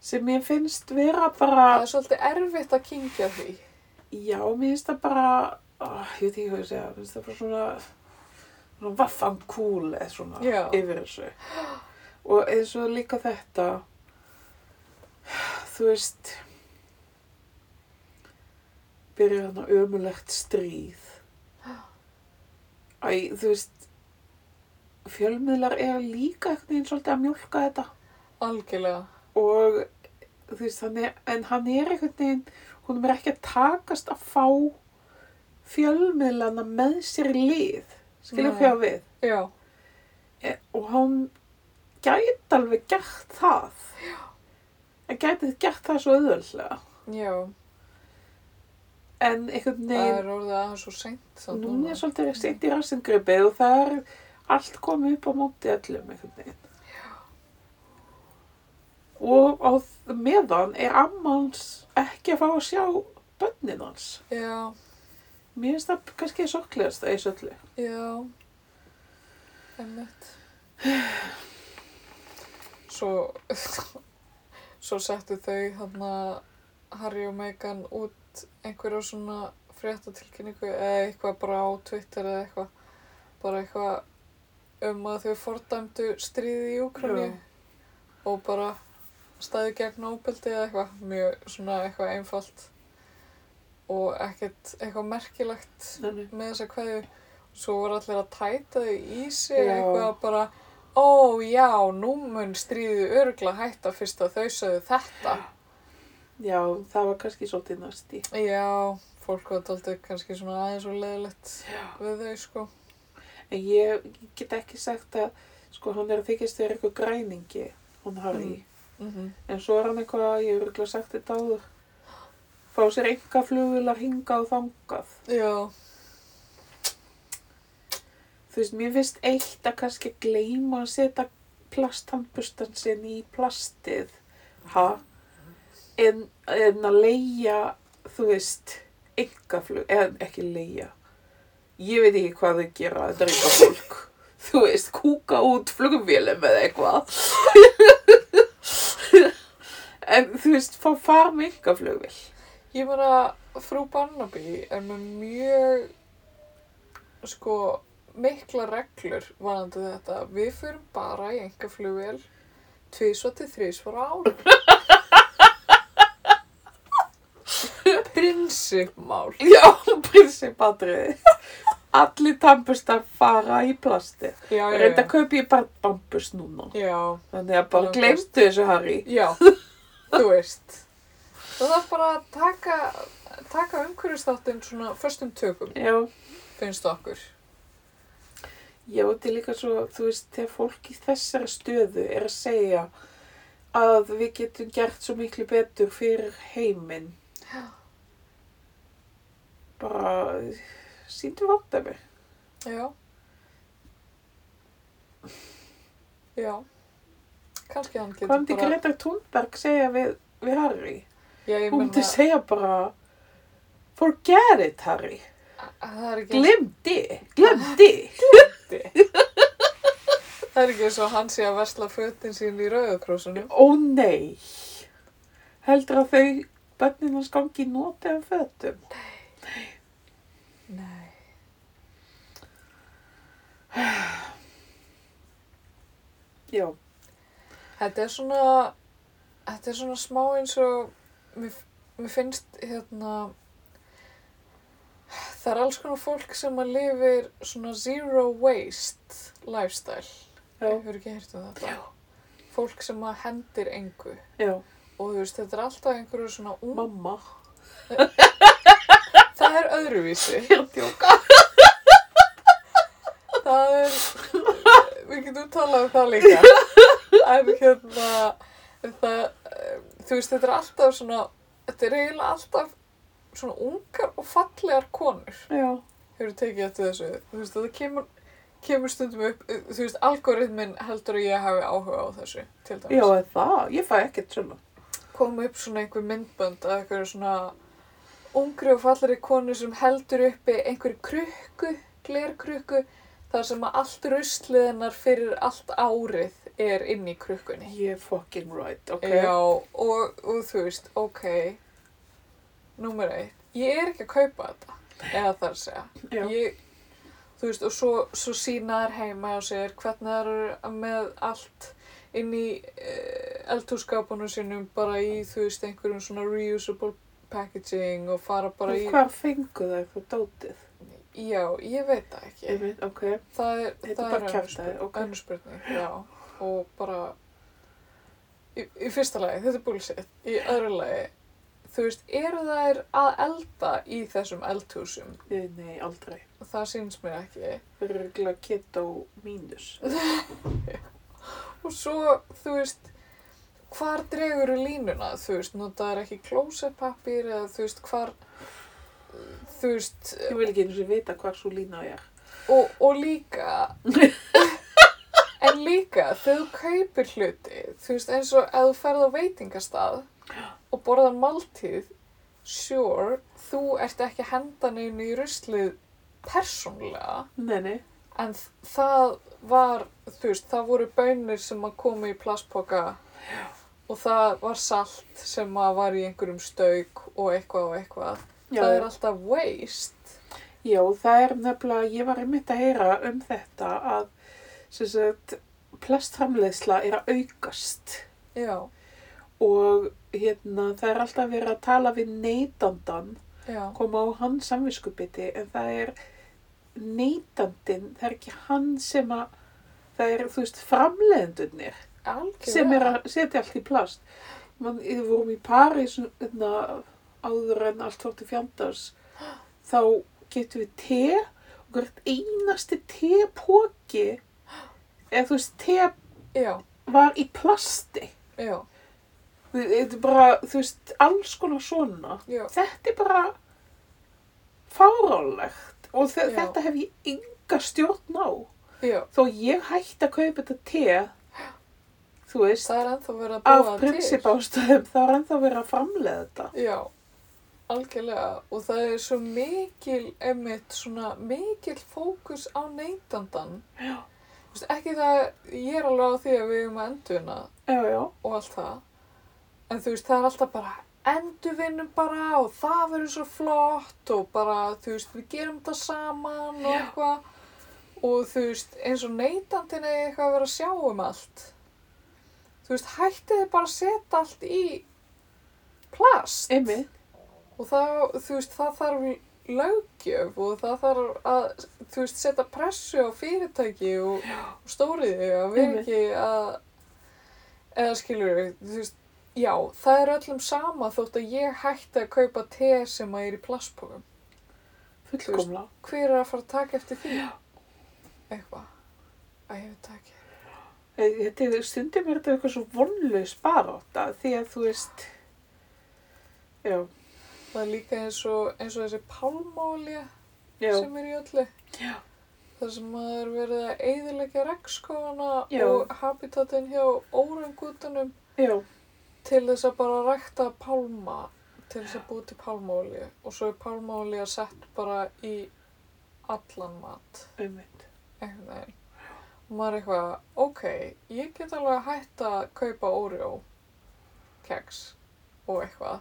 [SPEAKER 2] sem ég finnst vera bara,
[SPEAKER 1] það er svolítið erfitt að kynkja því
[SPEAKER 2] já, mér finnst það bara, oh, ég veit ekki hvað ég segja, mér finnst það bara svona, svona vaffan cool eða svona
[SPEAKER 1] Já.
[SPEAKER 2] yfir þessu. Og eins og líka þetta, þú veist, byrjar hann að ömulegt stríð. Æ, þú veist, fjölmiðlar eru líka eitthvað einn svolítið að mjólka þetta
[SPEAKER 1] algjörlega,
[SPEAKER 2] og þú veist, hann er, en hann er einhvern veginn, hún er ekki að takast að fá fjölmiðlana með sér í lið, skilja
[SPEAKER 1] Nei.
[SPEAKER 2] hvað ég á við.
[SPEAKER 1] já
[SPEAKER 2] E, og hann gæti alveg gert það. Já. Hann gæti gert það svo auðvöldlega.
[SPEAKER 1] já,
[SPEAKER 2] En einhvern
[SPEAKER 1] það
[SPEAKER 2] veginn,
[SPEAKER 1] er orðið aðeins svo seint samt
[SPEAKER 2] núna er svolítið sent í rassingripið og það er allt komið upp á móti öllum einhvern veginn. og á þ- meðan er amma hans ekki að fá að sjá bönnin hans.
[SPEAKER 1] Já,
[SPEAKER 2] Mér finnst það kannski sorglegast að þessu öllu.
[SPEAKER 1] já. Einmitt. Svo, svo settu þau hann Harry og Meghan út einhverja svona fréttatilkynningu eða eitthvað bara á Twitter eða eitthvað. Bara eitthvað um að þau fordæmdu stríði í Úkranu
[SPEAKER 2] Já.
[SPEAKER 1] og bara stæðu gegn óbeldi eða eitthvað. Mjög svona eitthvað einfalt og ekkert eitthvað merkilegt
[SPEAKER 2] Þannig.
[SPEAKER 1] með þessa kveðju svo voru allir að tæta þau í sig
[SPEAKER 2] Já.
[SPEAKER 1] eitthvað bara ó já, nú mun stríðu örgla hætta fyrst að þau sögðu þetta
[SPEAKER 2] Já, það var kannski svolítið næsti.
[SPEAKER 1] já, fólk var taldið kannski svona aðeins og leðilegt við þau sko
[SPEAKER 2] En ég get ekki sagt að, sko, hann er að þykist þér eitthvað græningi, hún Harry.
[SPEAKER 1] Mm. mm
[SPEAKER 2] En svo er hann eitthvað, ég hef örugglega sagt þetta áður, fá sér enga flugvilar hingað og þangað.
[SPEAKER 1] já,
[SPEAKER 2] Þú veist, mér finnst eitt að kannski gleyma að setja plasthandbustan sinn í plastið, ha? En, en að leia, þú veist, enga flug, eða ekki leia. Ég veit ekki hvað þau gera, þetta er eitthvað fólk. Þú veist, kúka út flugvélum eða eitthvað. en þú veist, fá far með enga flugvél.
[SPEAKER 1] ég meina frú Barnaby er með mjög sko mikla reglur varandi þetta við fyrum bara í engaflugvél tvisvar til þrisvar á ári prinsipmál
[SPEAKER 2] Já, prinsipatriði. Allir tampustar fara í plasti.
[SPEAKER 1] já, já,
[SPEAKER 2] Reynda
[SPEAKER 1] já,
[SPEAKER 2] kaupi ég bara bambus núna.
[SPEAKER 1] já,
[SPEAKER 2] Þannig að bara
[SPEAKER 1] Bambus.
[SPEAKER 2] glemstu þessu, Harry.
[SPEAKER 1] já þú veist það þarf bara að taka taka umhverfisþáttinn svona förstum tökum
[SPEAKER 2] Já,
[SPEAKER 1] finnst okkur
[SPEAKER 2] já, þetta er líka svo, þú veist, þegar fólk í þessari stöðu er að segja að við getum gert svo miklu betur fyrir heiminn. Bara, síndu vandamir.
[SPEAKER 1] já já kannski hann
[SPEAKER 2] Hvað
[SPEAKER 1] getur
[SPEAKER 2] myndi Greta Thunberg segja við, við Harry?
[SPEAKER 1] já, ég
[SPEAKER 2] Hún myndi
[SPEAKER 1] menna,
[SPEAKER 2] segja bara, forget it, Harry.
[SPEAKER 1] það er ekki
[SPEAKER 2] Glimdi, glimdi.
[SPEAKER 1] Það er ekki eins og hann sé að versla fötin sín í rauðakrósunum.
[SPEAKER 2] Ó nei, heldur að þau bönnin hans gangi í noti af fötum?
[SPEAKER 1] Nei.
[SPEAKER 2] Já,
[SPEAKER 1] Þetta er svona, þetta er svona smá eins og, mér, mér finnst hérna, það er alls konar fólk sem að lifir svona zero waste lifestyle.
[SPEAKER 2] já,
[SPEAKER 1] Ég hefur ekki heyrt um þetta. Já. Fólk sem að hendir engu.
[SPEAKER 2] já,
[SPEAKER 1] Og þú veist, þetta er alltaf einhverju svona ung,
[SPEAKER 2] mamma.
[SPEAKER 1] það er öðruvísi.
[SPEAKER 2] Ég er að djóka.
[SPEAKER 1] Það er, við getum talað um það líka, en hérna, það, eh, þú veist, þetta er alltaf svona, þetta er eiginlega alltaf svona ungar og fallegar konur,
[SPEAKER 2] Já,
[SPEAKER 1] hefur tekið eftir þessu, þú veist, þetta kemur, kemur stundum upp, eh, þú veist, algoritminn heldur að ég hafi áhuga á þessu, til dæmis
[SPEAKER 2] já, er það, ég fæ ekkert svona.
[SPEAKER 1] kom upp svona einhver myndbönd af einhverju svona ungri og fallari konu sem heldur uppi einhverju krukku, glerkrukku, þar sem að allt ruslið hennar fyrir allt árið er inn í krukkunni.
[SPEAKER 2] Ég er fucking right, ok.
[SPEAKER 1] Já, og, og þú veist, ok, númer eitt, ég er ekki að kaupa þetta, eða þar að segja
[SPEAKER 2] já,
[SPEAKER 1] ég, þú veist, og svo, svo sína þær heima og segir hvernig þær eru með allt inn í uh, eldhússkapunum sínum bara í, þú veist, einhverjum svona reusable packaging og fara bara í,
[SPEAKER 2] Og hvar fengu þau þú dótið?
[SPEAKER 1] já, ég veit það ekki.
[SPEAKER 2] Ég veit, ok,
[SPEAKER 1] Það er,
[SPEAKER 2] Þetta bara
[SPEAKER 1] það er önnur
[SPEAKER 2] kjaftaði,
[SPEAKER 1] spurning-
[SPEAKER 2] ok.
[SPEAKER 1] önnur spurning, já, og bara, í, í fyrsta lagi, þetta er bullshit, í öðru lagi, þú veist, eru þær að elda í þessum eldhúsum?
[SPEAKER 2] nei, nei, aldrei.
[SPEAKER 1] Það sýnst mér ekki.
[SPEAKER 2] Þau eru ekki keto mínus.
[SPEAKER 1] Og svo, þú veist, hvar dregur línuna, þú veist, notaður ekki klósettpappir eða þú veist, hvar, þú veist,
[SPEAKER 2] Ég vil ekki eins og vita hvar svo lína ég er.
[SPEAKER 1] og, og líka, En líka, þegar þú kaupir hluti, þú veist, eins og ef þú ferð á veitingastað og borðar máltíð, sure, þú ert ekki að henda neinu í ruslið persónlega,
[SPEAKER 2] Nei, nei.
[SPEAKER 1] en þ- það var, þú veist, það voru bönir sem að koma í plastpoka og það var salt sem að var í einhverjum stauk og eitthvað og eitthvað.
[SPEAKER 2] Já,
[SPEAKER 1] það er alltaf waste.
[SPEAKER 2] já, það er nefnilega, ég var einmitt að heyra um þetta að sem sagt, plastframleiðsla er að aukast
[SPEAKER 1] Já,
[SPEAKER 2] og hérna, það er alltaf verið að tala við neytandan,
[SPEAKER 1] já,
[SPEAKER 2] koma á hans samviskubiti en það er neytandin, það er ekki hann sem að, það er, þú veist, framleiðendunir
[SPEAKER 1] algjörlega.
[SPEAKER 2] sem er að setja allt í plast Man, við vorum í París hérna, áður en allt fór til fjandars þá getum við te og hvert einasti tepóki eða þú veist, te
[SPEAKER 1] Já,
[SPEAKER 2] var í plasti
[SPEAKER 1] já,
[SPEAKER 2] Þú- þetta er bara, þú veist, alls konar svona
[SPEAKER 1] já.
[SPEAKER 2] þetta er bara fáránlegt og þe-
[SPEAKER 1] Já.
[SPEAKER 2] þetta hef ég ynga stjórn á
[SPEAKER 1] Já,
[SPEAKER 2] þó ég hætti að kaupa þetta te þú veist
[SPEAKER 1] það er ennþá verið að
[SPEAKER 2] af
[SPEAKER 1] búa til.
[SPEAKER 2] prinsipástæðum þá er ennþá verið að framlega þetta.
[SPEAKER 1] Já, algjörlega. Og það er svo mikil, einmitt, svona mikil fókus á neytandan. Já. Þú veist, ekki það, ég er alveg á því að við erum að endurvinna
[SPEAKER 2] Já, já,
[SPEAKER 1] og allt það. En þú veist, það er alltaf bara endurvinnum bara og það verður svo flott og bara, þú veist, við gerum þetta saman og eitthvað. Og þú veist, eins og neytandin er eitthvað að vera að sjá um allt. Þú veist, hættið þið bara að setja allt í plast.
[SPEAKER 2] einmitt.
[SPEAKER 1] Og það, þú veist, það þarf löggjöf og það þarf að, þú veist, setja pressu á fyrirtæki og, og stóriði að vera
[SPEAKER 2] Einmitt.
[SPEAKER 1] ekki að, eða skilur við, þú veist, já, það er öllum sama þótt að ég hætti að kaupa te sem að er í plastpokum.
[SPEAKER 2] Fullkomla.
[SPEAKER 1] Hver er að fara að taka eftir því? Eitthvað. Æ, ég veit það ekki.
[SPEAKER 2] Eh, Þetta er stundum er þetta eitthvað svo vonlaus barátta því að þú veist, já,
[SPEAKER 1] Það er líka eins og, eins og þessi pálmálja
[SPEAKER 2] já,
[SPEAKER 1] sem er í öllu.
[SPEAKER 2] Já.
[SPEAKER 1] Það sem að er verið að eyðileggja regnskóðana
[SPEAKER 2] Já.
[SPEAKER 1] og habitatin hjá órangutunum
[SPEAKER 2] já,
[SPEAKER 1] til þess að bara rækta pálma, til þess að búi til pálmáli og svo er pálmáli að sett bara í allan mat,
[SPEAKER 2] einmitt.
[SPEAKER 1] einhvern veginn. Og maður er eitthvað, ok, ég get alveg að hætta að kaupa Oreo keks og eitthvað.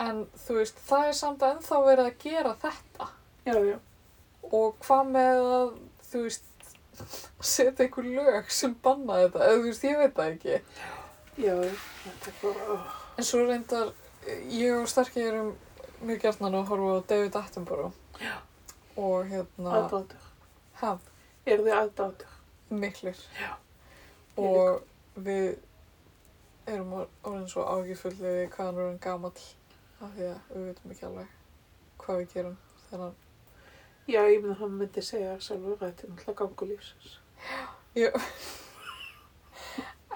[SPEAKER 1] En þú veist, það er samt ennþá verið að gera þetta.
[SPEAKER 2] Já, já,
[SPEAKER 1] Og hvað með að, þú veist, setja einhver lög sem banna þetta, eða þú veist, ég veit það ekki.
[SPEAKER 2] já, já, þetta er bara, oh,
[SPEAKER 1] En svo reyndar, eh, ég og Starki erum mjög gjarnan að horfa á David Attenborough. Já. Og hérna,
[SPEAKER 2] aðdátur.
[SPEAKER 1] hæ,
[SPEAKER 2] Er þið aðdátur?
[SPEAKER 1] miklir. Já.
[SPEAKER 2] Ég
[SPEAKER 1] Og við erum or- orðin svo ágifulli við hvað hann er orðin gamall, af því að við veitum ekki alveg hvað við gerum þegar hann
[SPEAKER 2] Já, ég myndi að hann myndi segja sjálfur að þetta er náttúrulega gangu lífsins.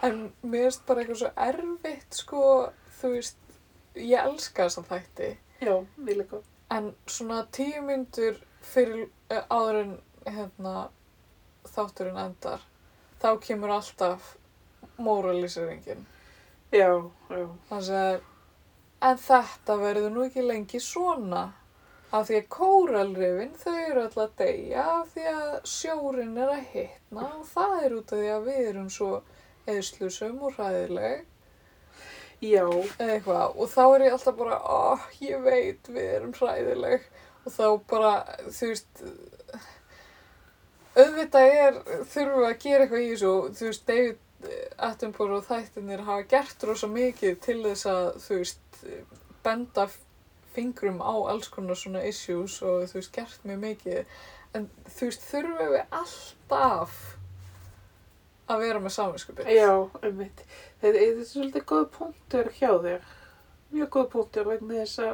[SPEAKER 1] En mér finnst bara eitthvað svo erfitt, sko, þú veist, ég elska þessa þætti,
[SPEAKER 2] Já, mér líka.
[SPEAKER 1] en svona tíu myndur fyrir eh, áður en hérna, þátturinn endar, þá kemur alltaf móralisýringin.
[SPEAKER 2] Já, já,
[SPEAKER 1] Þannig að, en þetta verður nú ekki lengi svona, af því að kóralrifin, þau eru alltaf að deyja, af því að sjórin er að hitna og það er út af því að við erum svo eðslusum og hræðileg.
[SPEAKER 2] já,
[SPEAKER 1] eða eitthvað og þá er ég alltaf bara, ó, ég veit, við erum hræðileg og þá bara, þú veist, auðvitað er, þurfum við að gera eitthvað í þessu og þú veist, David eh, Attenborough og þættinir hafa gert rosa mikið til þess að, þú veist, benda fingrum á alls konar svona issues og þú veist, gert mjög mikið en þú veist, þurfum við alltaf að vera með saminskupið.
[SPEAKER 2] já, einmitt. Þetta þetta er svolítið góð punktur hjá þér. mjög góð punktur vegna þess að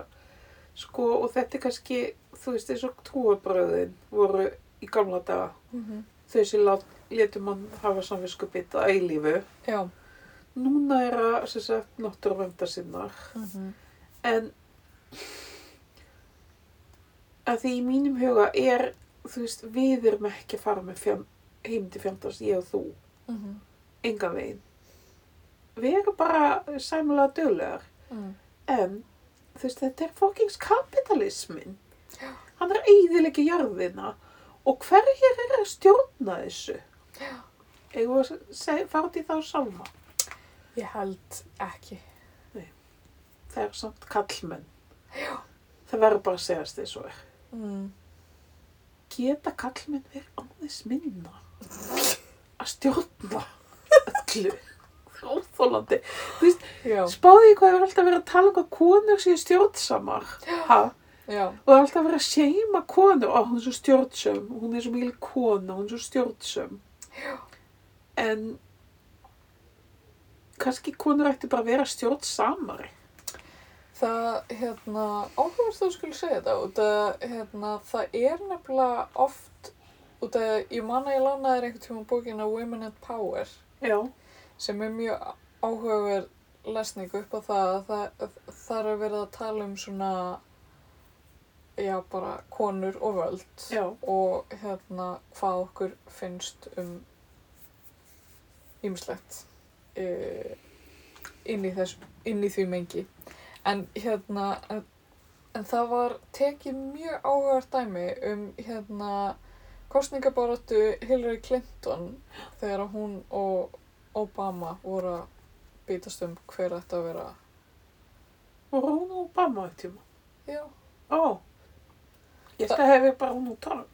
[SPEAKER 2] sko og þetta er kannski þú veist eins og trúabröðin voru í gamla daga
[SPEAKER 1] Mm -hmm.
[SPEAKER 2] þau sem lát, letur mann hafa samvinskupið að eilífu
[SPEAKER 1] Já.
[SPEAKER 2] núna er að sem sagt náttúruvenda sinnar
[SPEAKER 1] Mm -hmm.
[SPEAKER 2] en að því í mínum huga er þú veist við erum ekki að fara með fjand heim til fjöndast, ég og þú,
[SPEAKER 1] Mhm.
[SPEAKER 2] engan veginn. Við erum bara sæmulega döglegar.
[SPEAKER 1] Mm.
[SPEAKER 2] En, þú veist, þetta er fokkings kapitalismin. Hann er eiðilegi jarðina og hverjir er að stjórna þessu? Eigum við að seg- fara út í þá salma?
[SPEAKER 1] Ég held ekki.
[SPEAKER 2] Það er samt kallmenn. Já. Það verður bara að segjast þess og er.
[SPEAKER 1] Mm.
[SPEAKER 2] Geta kallmenn verið aðeins minna? Að stjórna öllu? Óþólandi. Þú veist,
[SPEAKER 1] Já,
[SPEAKER 2] spáði ég hvað hefur alltaf verið að tala um hvað konur séu stjórnsamar. Ha?
[SPEAKER 1] já,
[SPEAKER 2] og það er alltaf verið að seima konu og hún er svo stjórnsöm, hún er svo mikil kona hún er svo stjórnsöm en kannski konur ætti bara að vera stjórnsamari
[SPEAKER 1] það, hérna, áhugast þú skulle segja þetta, út að, hérna, það er nefnilega oft, út að, ég man að ég lánaði þér einhvern tíma bókina Women and Power,
[SPEAKER 2] já,
[SPEAKER 1] sem er mjög áhugaverð lesning upp á það, að það, það er verið að tala um svona, já, bara konur og völd
[SPEAKER 2] já,
[SPEAKER 1] og, hérna, hvað okkur finnst um ýmislegt uh, inn, í þess, inn í því mengi. En hérna, en, en það var tekið mjög áhugavert dæmi um hérna kostningabaratu Hillary Clinton þegar hún og Obama voru að býtast um hver ætti að vera,
[SPEAKER 2] og hún og Obama eitt tíma
[SPEAKER 1] já,
[SPEAKER 2] ó, ég ætti að um. hefði bara hún og Trump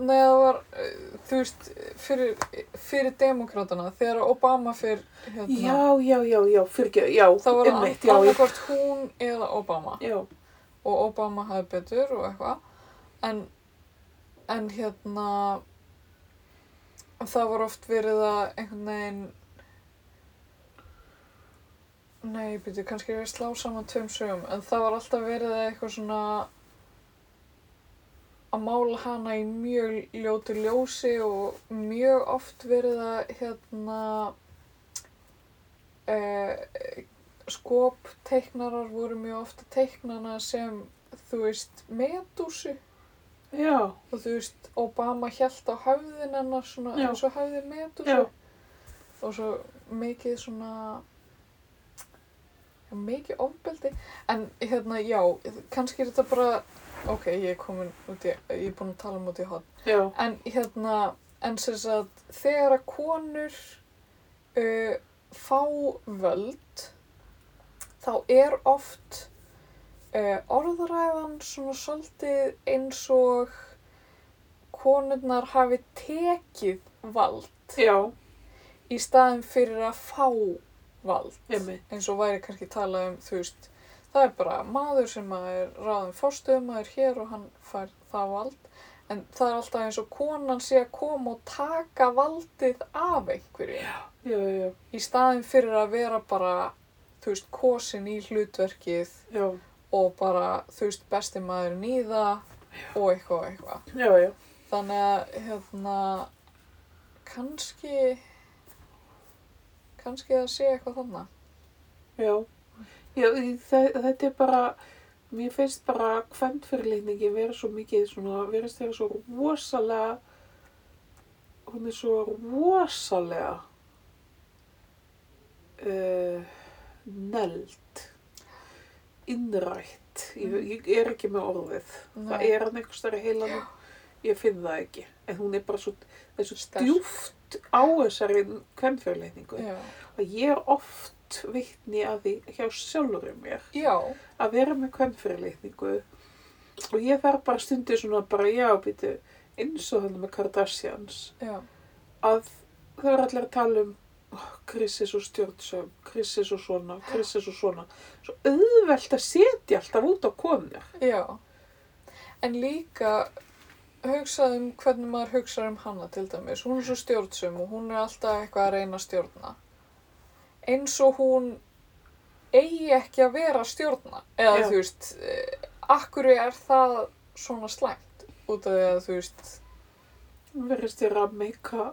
[SPEAKER 1] Nei, það var, eh, þú veist, fyrir, fyrir demókrátana, þegar Obama fyrir, hérna,
[SPEAKER 2] já, já, já, já, fyrir ekki, já,
[SPEAKER 1] það var
[SPEAKER 2] einmitt, já, já,
[SPEAKER 1] annarkvort hún eða Obama.
[SPEAKER 2] já,
[SPEAKER 1] og Obama hafi betur og eitthvað en, en hérna það var oft verið að einhvern veginn nei, byrju, kannski er ég að slá saman tveim sögum en það var alltaf verið að eitthvað svona að mála hana í mjög ljótu ljósi og mjög oft verið að hérna eh, skopteiknarar voru mjög ofta teiknana sem, þú veist, medúsu
[SPEAKER 2] já,
[SPEAKER 1] og þú veist, Obama held á höfðin hennar svona
[SPEAKER 2] Já.
[SPEAKER 1] eins og höfði medúsu
[SPEAKER 2] Já.
[SPEAKER 1] og svo mikið svona já, mikið ofbeldi en hérna, já, kannski er þetta bara ok, ég er komin út í ég er búin að tala um út í hot
[SPEAKER 2] já,
[SPEAKER 1] En hérna, en sem sagt, þegar að konur uh, fá völd, þá er oft uh, orðræðan svona svolítið eins og konurnar hafi tekið vald
[SPEAKER 2] já,
[SPEAKER 1] í staðin fyrir að fá vald.
[SPEAKER 2] einmitt,
[SPEAKER 1] Eins og væri kannski talað um, þú veist, það er bara maður sem að er ráðum fórstöðum, maður hér og hann fær það vald. En það er alltaf eins og konan sé að koma og taka valdið af einhverju.
[SPEAKER 2] já, já,
[SPEAKER 1] Í staðin fyrir að vera bara, þú veist, kosin í hlutverkið
[SPEAKER 2] já,
[SPEAKER 1] og bara, þú veist, besti maður nýða og eitthvað og eitthvað.
[SPEAKER 2] já, já,
[SPEAKER 1] Þannig að, hérna, kannski, kannski það sé eitthvað þannig.
[SPEAKER 2] Já, já þe- þetta er bara, mér finnst bara kvendfyrirlitningi vera svo mikið svona, verðist þeirra svo rosalega, hún er svo rosalega uh, neld, innrætt, ég, ég er ekki með orðið, það
[SPEAKER 1] Mm. Nei.
[SPEAKER 2] er hann einhvers þar í heilanum, ég finn það ekki, en hún er bara svo, það er svo
[SPEAKER 1] Sterk.
[SPEAKER 2] djúft á þessari kvendfyrirlitningu
[SPEAKER 1] Já,
[SPEAKER 2] að ég er oft vitni að því hjá sjálfurinn mér
[SPEAKER 1] já.
[SPEAKER 2] að vera með kvennfyrirlitningu og ég þarf bara stundir svona bara já, býtu, eins og þannig með Kardashians
[SPEAKER 1] Já,
[SPEAKER 2] að það er allir að tala um oh, Chris er svo stjórnsöm, Chris er svo svona, Chris er svo svona svo auðvelt að setja alltaf út á konur
[SPEAKER 1] já. En líka hugsað um hvernig maður hugsar um hana til dæmis. Hún er svo stjórnsum og hún er alltaf eitthvað að reyna að stjórna. Eins og hún eigi ekki að vera að stjórna. Eða
[SPEAKER 2] Já.
[SPEAKER 1] þú veist, eh, akkur er það svona slæmt? Út af því að þú veist,
[SPEAKER 2] hún verðist þér að meika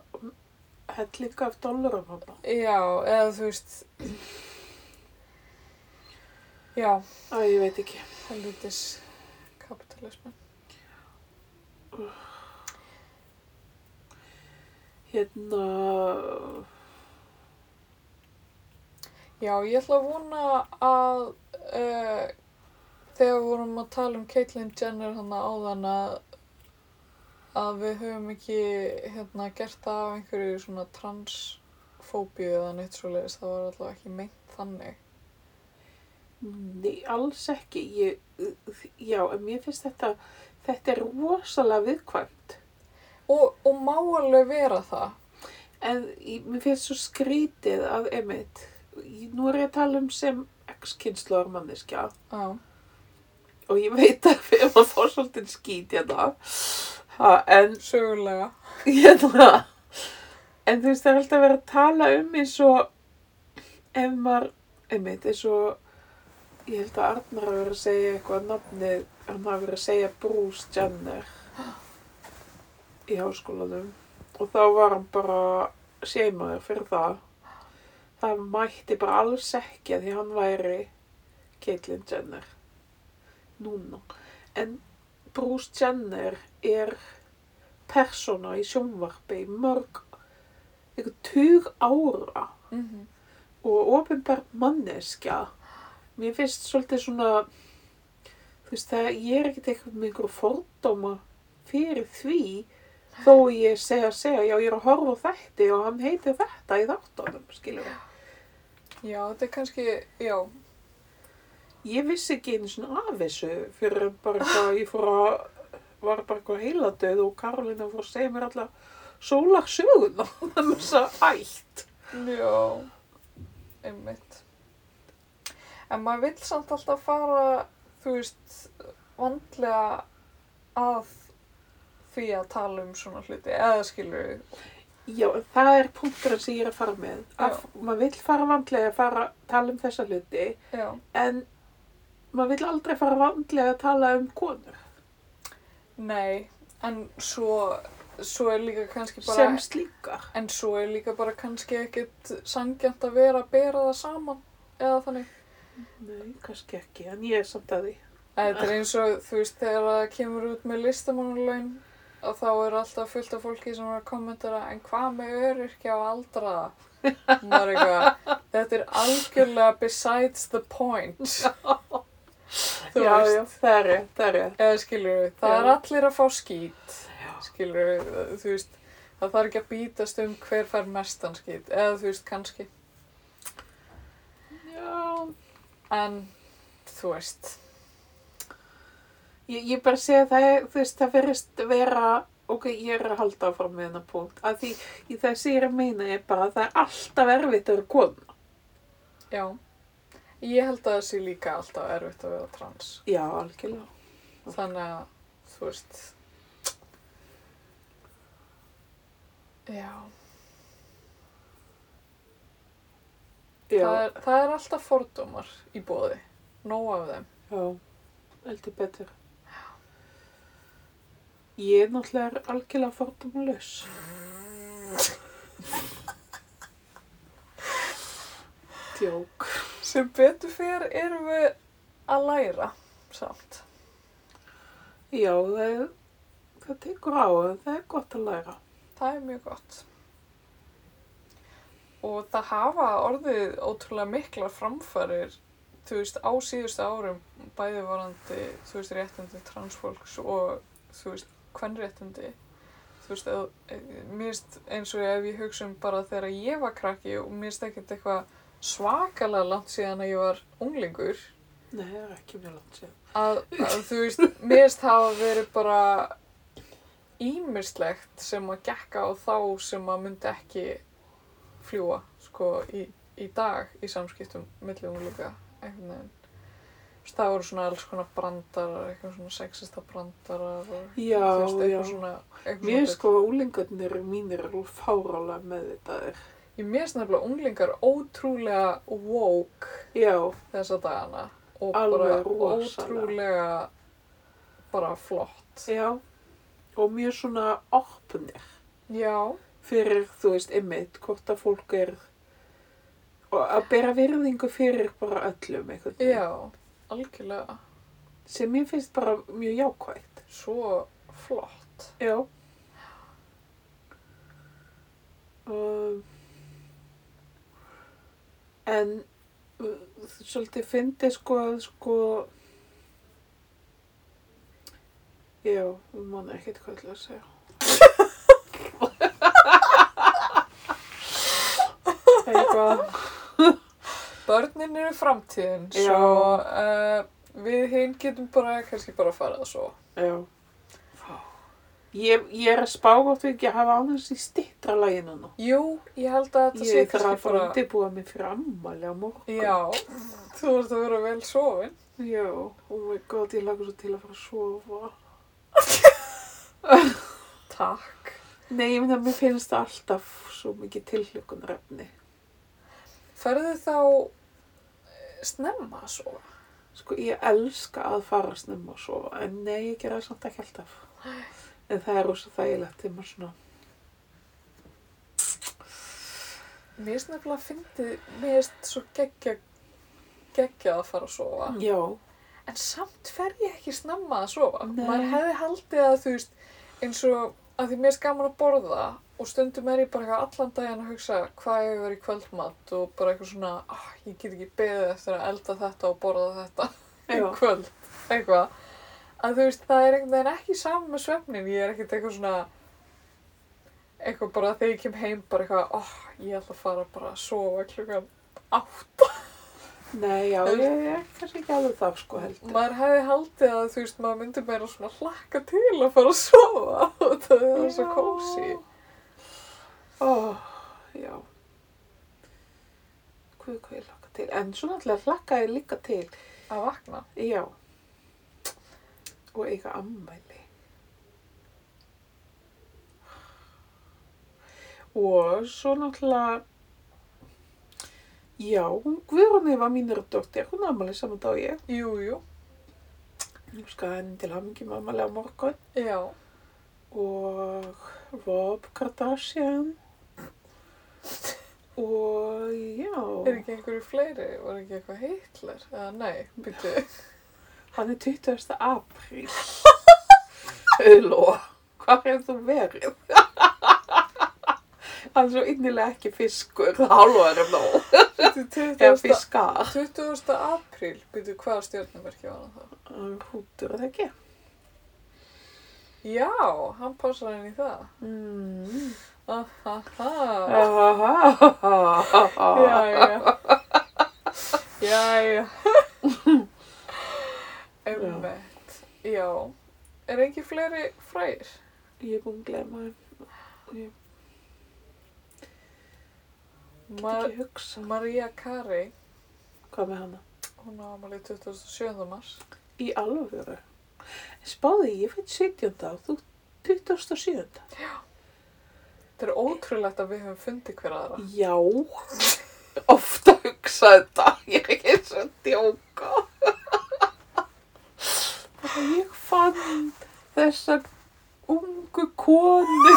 [SPEAKER 2] hellinga af dólarum hana
[SPEAKER 1] já, eða þú veist, já,
[SPEAKER 2] að ég veit ekki
[SPEAKER 1] helvitis kapitalismin.
[SPEAKER 2] Hérna,
[SPEAKER 1] Já, ég ætla að vona að uh, þegar við vorum að tala um Caitlyn Jenner þannig áðan að, að við höfum ekki hérna, gert það af einhverju svona transfóbíu eða neitt svoleiðis, það var alltaf ekki meint þannig.
[SPEAKER 2] nei, alls ekki. Ég, já, en mér finnst þetta, þetta er rosalega viðkvæmt.
[SPEAKER 1] Og, og má alveg vera það.
[SPEAKER 2] En ég, mér finnst svo skrítið að, einmitt, ég- nú er ég að tala um sem ex-kynnslóðar manneskja
[SPEAKER 1] Já,
[SPEAKER 2] og ég veit að við erum að fá svolítið skít hérna. Ha, en
[SPEAKER 1] sögulega.
[SPEAKER 2] hérna en þú veist það er alltaf verið að tala um eins og ef maður einmitt eins og ég held að Arnar hafi verið að segja eitthvað nafnið hann hafi verið að segja Bruce Jenner í háskólanum og þá var hann bara seimaður fyrir það það mætti bara alls ekki að því hann væri Caitlyn Jenner núna en Bruce Jenner er persóna í sjónvarpi í mörg eitthvað tug ára
[SPEAKER 1] Mm
[SPEAKER 2] og ofinbært manneskja mér finnst svolítið svona þú veist það ég er ekkert eitthvað með einhverju fordóma fyrir því þó ég segja að segja já ég er að horfa á þetta og hann heitir þetta í þáttunum skiljum
[SPEAKER 1] Já, þetta er kannski, já,
[SPEAKER 2] ég vissi ekki einu svona af þessu fyrir bara það að ég fór að var bara eitthvað heiladauð og Karolina fór að segja mér alltaf sólarsöguna um þessa ætt
[SPEAKER 1] Já, einmitt. En maður vill samt alltaf fara, þú veist, vandlega að því að tala um svona hluti, eða skilur við.
[SPEAKER 2] Já, en það er punkturinn sem ég er að fara með. Að maður vill fara vandlega að fara að tala um þessa hluti,
[SPEAKER 1] Já,
[SPEAKER 2] en maður vill aldrei fara vandlega að tala um konur
[SPEAKER 1] nei, en svo, svo er líka kannski bara...
[SPEAKER 2] sem slíkar.
[SPEAKER 1] En svo er líka bara kannski ekkit sangjant að vera að bera það saman, eða þannig.
[SPEAKER 2] Nei, kannski ekki, en ég er samt að því.
[SPEAKER 1] Æ, Þetta er eins og, þú veist, þegar það kemur út með listamannalaun og þá er alltaf fullt af fólki sem er að kommentara en hvað með öryrkja og aldraða? Maður er eitthvað, þetta er algjörlega besides the point. Þú
[SPEAKER 2] já,
[SPEAKER 1] veist,
[SPEAKER 2] já, það er rétt, það er rétt.
[SPEAKER 1] eða skilur við, það
[SPEAKER 2] Já.
[SPEAKER 1] er allir að fá skít, skilur við, þú veist, það þarf ekki að bítast um hver fær mestan skít, eða þú veist, kannski,
[SPEAKER 2] Já,
[SPEAKER 1] en þú veist,
[SPEAKER 2] Ég, ég bara segja það, er, þú veist, það verðist vera, ok, ég er að halda áfram með hennar punkt, að því í þessi ég er að meina er bara að það er alltaf erfitt að vera kona.
[SPEAKER 1] já, ég held að það sé líka alltaf erfitt að vera trans.
[SPEAKER 2] Já, algjörlega.
[SPEAKER 1] Þannig að, þú veist, já,
[SPEAKER 2] Já,
[SPEAKER 1] Það, er, það er alltaf fordómar í bóði, nóg af þeim.
[SPEAKER 2] já, heldur betur. Ég er náttúrulega algjörlega fordómalaus. Djók.
[SPEAKER 1] Sem betur fyrir erum við að læra samt.
[SPEAKER 2] Já, það, er- það tekur á, en það er gott að læra.
[SPEAKER 1] Það er mjög gott. Og það hafa orðið ótrúlega miklar framfærir, þú veist, á síðustu árum, bæði varandi, þú veist, réttindi transfólks og, þú veist, kvennréttindi. Þú veist, eð, e- mér veist eins og ef ég hugsa um bara þegar ég var krakki og mér veist ekkert eitthvað svakalega langt síðan að ég var unglingur
[SPEAKER 2] Nei, það er ekki mjög langt sér.
[SPEAKER 1] að, að þú veist, mest hafa verið bara ímislegt sem að gekka á þá sem að myndi ekki fljúa sko í, í dag í samskiptum milli unglinga einhvern veginn Þú veist, það voru svona alls konar brandarar eitthvað svona sexista brandarar og
[SPEAKER 2] Já,
[SPEAKER 1] þú veist,
[SPEAKER 2] já.
[SPEAKER 1] eitthvað svona eitthvað
[SPEAKER 2] Mér
[SPEAKER 1] svona-
[SPEAKER 2] er sko úlingarnir mínir eru fárálega meðvitaðir.
[SPEAKER 1] ég mér finnst nefnilega unglingar ótrúlega woke
[SPEAKER 2] Já,
[SPEAKER 1] þessa dagana og
[SPEAKER 2] Alveg
[SPEAKER 1] bara
[SPEAKER 2] rosalega.
[SPEAKER 1] ótrúlega bara flott
[SPEAKER 2] já. Og mjög svona opnir
[SPEAKER 1] já
[SPEAKER 2] fyrir, þú veist, einmitt, hvort að fólk er og að bera virðingu fyrir bara öllum einhvern veginn.
[SPEAKER 1] Já, algjörlega.
[SPEAKER 2] Sem mér finnst bara mjög jákvægt.
[SPEAKER 1] Svo flott.
[SPEAKER 2] Já. Um, en uh, svolítið fyndi sko að sko já, við mann ekkert hvað ég ætla að segja eitthvað
[SPEAKER 1] Börnin eru framtíðin,
[SPEAKER 2] Já.
[SPEAKER 1] svo uh, við hinn getum bara, kannski bara að fara að svo.
[SPEAKER 2] já ég, ég er að spá gott við ekki að hafa aðeins í stittra laginu nú
[SPEAKER 1] Jú, ég held að þetta sé
[SPEAKER 2] ég þarf að
[SPEAKER 1] kannski
[SPEAKER 2] fara
[SPEAKER 1] bara...
[SPEAKER 2] að undirbúa mig fyrir ammali á morgun
[SPEAKER 1] Já, þú ert að vera vel sofin.
[SPEAKER 2] Já, oh my god, ég lagur svo til að fara að sofa.
[SPEAKER 1] Takk.
[SPEAKER 2] Nei, ég meina, mér finnst það alltaf svo mikið tilhlökunarefni.
[SPEAKER 1] Ferðu þá eh, snemma að sofa?
[SPEAKER 2] Sko, ég elska að fara snemma að sofa, en nei, ég gera það samt ekki alltaf. En það er rosa þægilegt þegar maður svona,
[SPEAKER 1] Mér finnst nefnilega að fyndið, mér finnst svo geggja, geggja að fara að sofa.
[SPEAKER 2] já,
[SPEAKER 1] En samt fer ég ekki snemma að sofa.
[SPEAKER 2] Nei.
[SPEAKER 1] Maður hefði haldið að þú veist, eins og að því mér er gaman að borða og stundum er ég bara eitthvað allan daginn að hugsa hvað ég verið í kvöldmat og bara eitthvað svona, oh, ég get ekki beðið eftir að elda þetta og borða þetta í
[SPEAKER 2] já,
[SPEAKER 1] kvöld, eitthvað. Að þú veist, það er einhvern veginn ekki saman með svefnin, ég er ekkert eitthvað svona, eitthvað bara þegar ég kem heim bara eitthvað, oh, ég ætla að fara bara að sofa klukkan átt.
[SPEAKER 2] nei, já, ég er kannski ekki alveg það, sko, heldur.
[SPEAKER 1] maður hefði haldið að þú veist maður myndi meira svona hlakka til að fara að sofa og það er
[SPEAKER 2] Já.
[SPEAKER 1] svo kósi
[SPEAKER 2] Ó, já. Hvað, hvað ég lakka til? En svo náttúrulega lakka ég líka til
[SPEAKER 1] að vakna
[SPEAKER 2] Já. Og eiga ammæli. Og svo náttúrulega, já, hún Guðrún Eva mínur dóttir, hún á ammæli saman dag og ég.
[SPEAKER 1] jú, jú,
[SPEAKER 2] Ég skaði henni til hamingjum ammæli á morgun.
[SPEAKER 1] já
[SPEAKER 2] Og Rob Kardashian. Og já,
[SPEAKER 1] er ekki einhverju fleiri, var ekki eitthvað Hitler eða nei, byrju
[SPEAKER 2] hann er 20. apríl. Huló, hvað hefur þú verið? hann er svo innilega ekki fiskur, það hálfaður um nóg.
[SPEAKER 1] byrju
[SPEAKER 2] Eða
[SPEAKER 1] 20.
[SPEAKER 2] fiskar.
[SPEAKER 1] 20. apríl byrju hvaða stjórnumerki var hann þá
[SPEAKER 2] Hann er Hrútur, er það ekki?
[SPEAKER 1] já, hann passar henni í það
[SPEAKER 2] Mm.
[SPEAKER 1] ahaha
[SPEAKER 2] Já,
[SPEAKER 1] Jæja. Jæja. Emmett. Já. Er ekki fleiri fræðir?
[SPEAKER 2] ég er búin að glema hann. Ég
[SPEAKER 1] Mar
[SPEAKER 2] ekki hugsa.
[SPEAKER 1] Maria Carey,
[SPEAKER 2] Hvað með hana?
[SPEAKER 1] hún á ámalið 27. mars.
[SPEAKER 2] Í alvöru. Spáði, ég finn 17. og þú 27.
[SPEAKER 1] Þetta er ótrúlegt að við höfum fundið hver aðra.
[SPEAKER 2] Já, ofta hugsa þetta, ég er ekki eins og að djóka. Bara, ég fann þessa ungu konu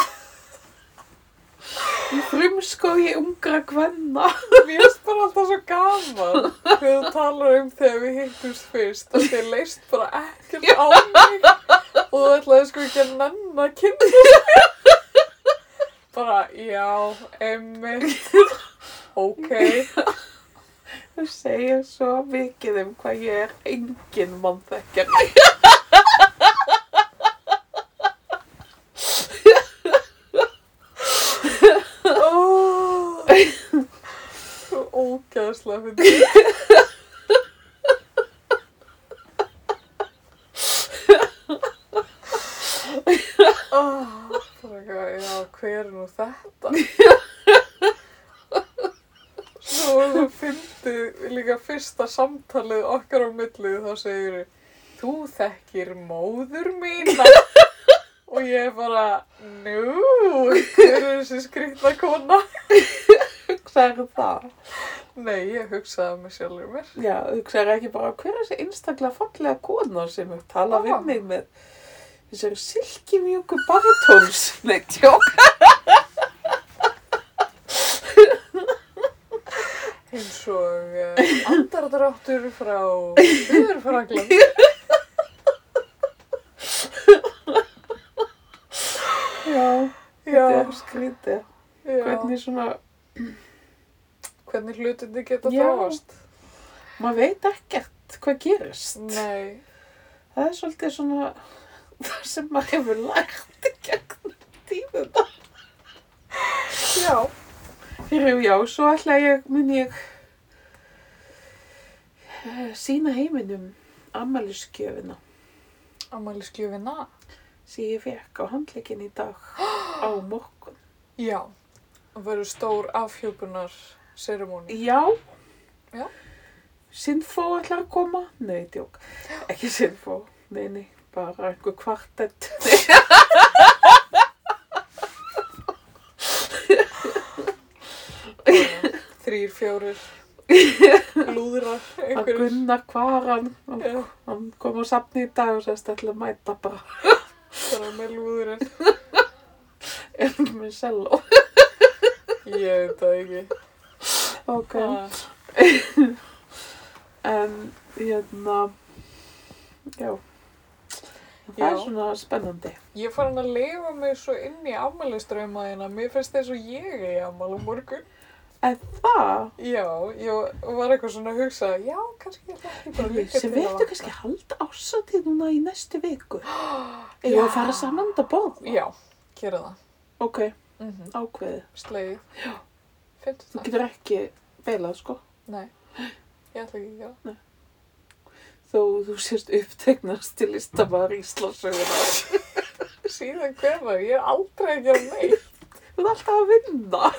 [SPEAKER 2] í frumskói ungra kvenna.
[SPEAKER 1] Mér finnst bara alltaf svo gaman þegar þú talar um þegar við hittumst fyrst og þið leist bara ekkert á mig og þú ætlaði sko ekki að nanna kynni bara, já, emmitt ok,
[SPEAKER 2] Þú segir svo mikið um hvað ég er engin mannþekkar.
[SPEAKER 1] oh, svo ógæðslega fyrir oh, bara, eitthvað, já, hver er nú þetta Svo var svo fyndið líka fyrsta samtalið okkar á millið þá segir þú þekkir móður mína og ég er bara nú, hver er þessi skrýtna kona?
[SPEAKER 2] Hugsaðu um það?
[SPEAKER 1] Nei, ég hugsaði með sjálfur mér.
[SPEAKER 2] Já, hugsaðu ekki bara hver er þessi einstaklega fallega kona sem hefur talað
[SPEAKER 1] Já.
[SPEAKER 2] við mig með þessari silkimjúku baritóns. Nei, tjók.
[SPEAKER 1] eins og uh, andardráttur frá Suðurfrakland.
[SPEAKER 2] Já, þetta
[SPEAKER 1] Já,
[SPEAKER 2] er skrítið.
[SPEAKER 1] já,
[SPEAKER 2] hvernig svona,
[SPEAKER 1] Hvernig hlutinni geta
[SPEAKER 2] Já.
[SPEAKER 1] þróast.
[SPEAKER 2] maður veit ekkert hvað gerist.
[SPEAKER 1] Nei,
[SPEAKER 2] Það er svolítið svona það sem maður hefur lært í gegnum tíðuna.
[SPEAKER 1] já.
[SPEAKER 2] Hérjú, já, svo ætla ég, mun ég eh, sína heiminum ammælisgjöfina
[SPEAKER 1] Amali skjöfina.
[SPEAKER 2] sem ég fekk á handleikin í dag á morgun.
[SPEAKER 1] Já. Það verður stór afhjúpunar seremóni.
[SPEAKER 2] Já.
[SPEAKER 1] Já.
[SPEAKER 2] Sinfó ætlar að koma? Nei, djók. Ekki Sinfó. Nei, nei. Bara einhver kvartett.
[SPEAKER 1] Þrýr, fjórir, lúðrar,
[SPEAKER 2] Að
[SPEAKER 1] einhverjir.
[SPEAKER 2] Gunnar Kvaran, hann,
[SPEAKER 1] Já,
[SPEAKER 2] hann kom á safni í dag og sérst ætla að mæta bara
[SPEAKER 1] bara með lúðurinn.
[SPEAKER 2] ef með selló.
[SPEAKER 1] Ég veit það ekki.
[SPEAKER 2] Ok.
[SPEAKER 1] Ah,
[SPEAKER 2] En, hérna, já. Það
[SPEAKER 1] Já.
[SPEAKER 2] er svona spennandi.
[SPEAKER 1] Ég er farin að leifa mig svo inn í afmælistraumaðina. Mér finnst þess að ég er afmæl á morgun.
[SPEAKER 2] En það,
[SPEAKER 1] Já, ég var eitthvað svona að hugsa, já, kannski ég hlætti bara líka
[SPEAKER 2] sem
[SPEAKER 1] að
[SPEAKER 2] veitu
[SPEAKER 1] vanda.
[SPEAKER 2] kannski halda ásatíð núna í næstu viku. Ég
[SPEAKER 1] Já.
[SPEAKER 2] var að fara saman að borða.
[SPEAKER 1] Já, gera það.
[SPEAKER 2] Ok,
[SPEAKER 1] Mm
[SPEAKER 2] ákveðið.
[SPEAKER 1] Slegið. Já. Fyndu
[SPEAKER 2] Mhm. Þú
[SPEAKER 1] það.
[SPEAKER 2] getur ekki beilað, sko.
[SPEAKER 1] Nei, ég ætla ekki að gera.
[SPEAKER 2] Þó þú sérst upptegnast til listamæður Íslandsögunar.
[SPEAKER 1] það. Síðan hvenar, ég er aldrei að gera neitt.
[SPEAKER 2] Þú ert alltaf að vinna.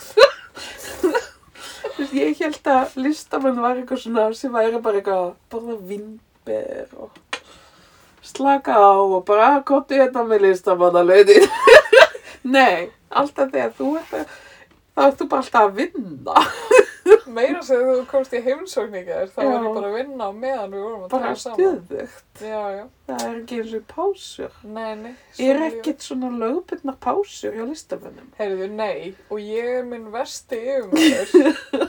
[SPEAKER 2] Þú veist, ég held að listamenn var eitthvað svona sem væri bara eitthvað að borða vinnber og slaka á og bara kóttu hérna með listamannalaunin. Nei, alltaf þegar þú ert að, þá ert þú bara alltaf að vinna.
[SPEAKER 1] Meira sem þú komst í heimsókningar, þá var
[SPEAKER 2] Já.
[SPEAKER 1] ég bara að vinna á meðan við vorum að
[SPEAKER 2] Bara
[SPEAKER 1] tala saman.
[SPEAKER 2] stuðugt.
[SPEAKER 1] Já, já.
[SPEAKER 2] Það er ekki eins og pásur.
[SPEAKER 1] Nei, nei.
[SPEAKER 2] Er
[SPEAKER 1] svo ég-
[SPEAKER 2] ekkert svona lögbundna pásur hjá listamennum?
[SPEAKER 1] Heyrðu, nei. Og ég er minn versti yfirmaður.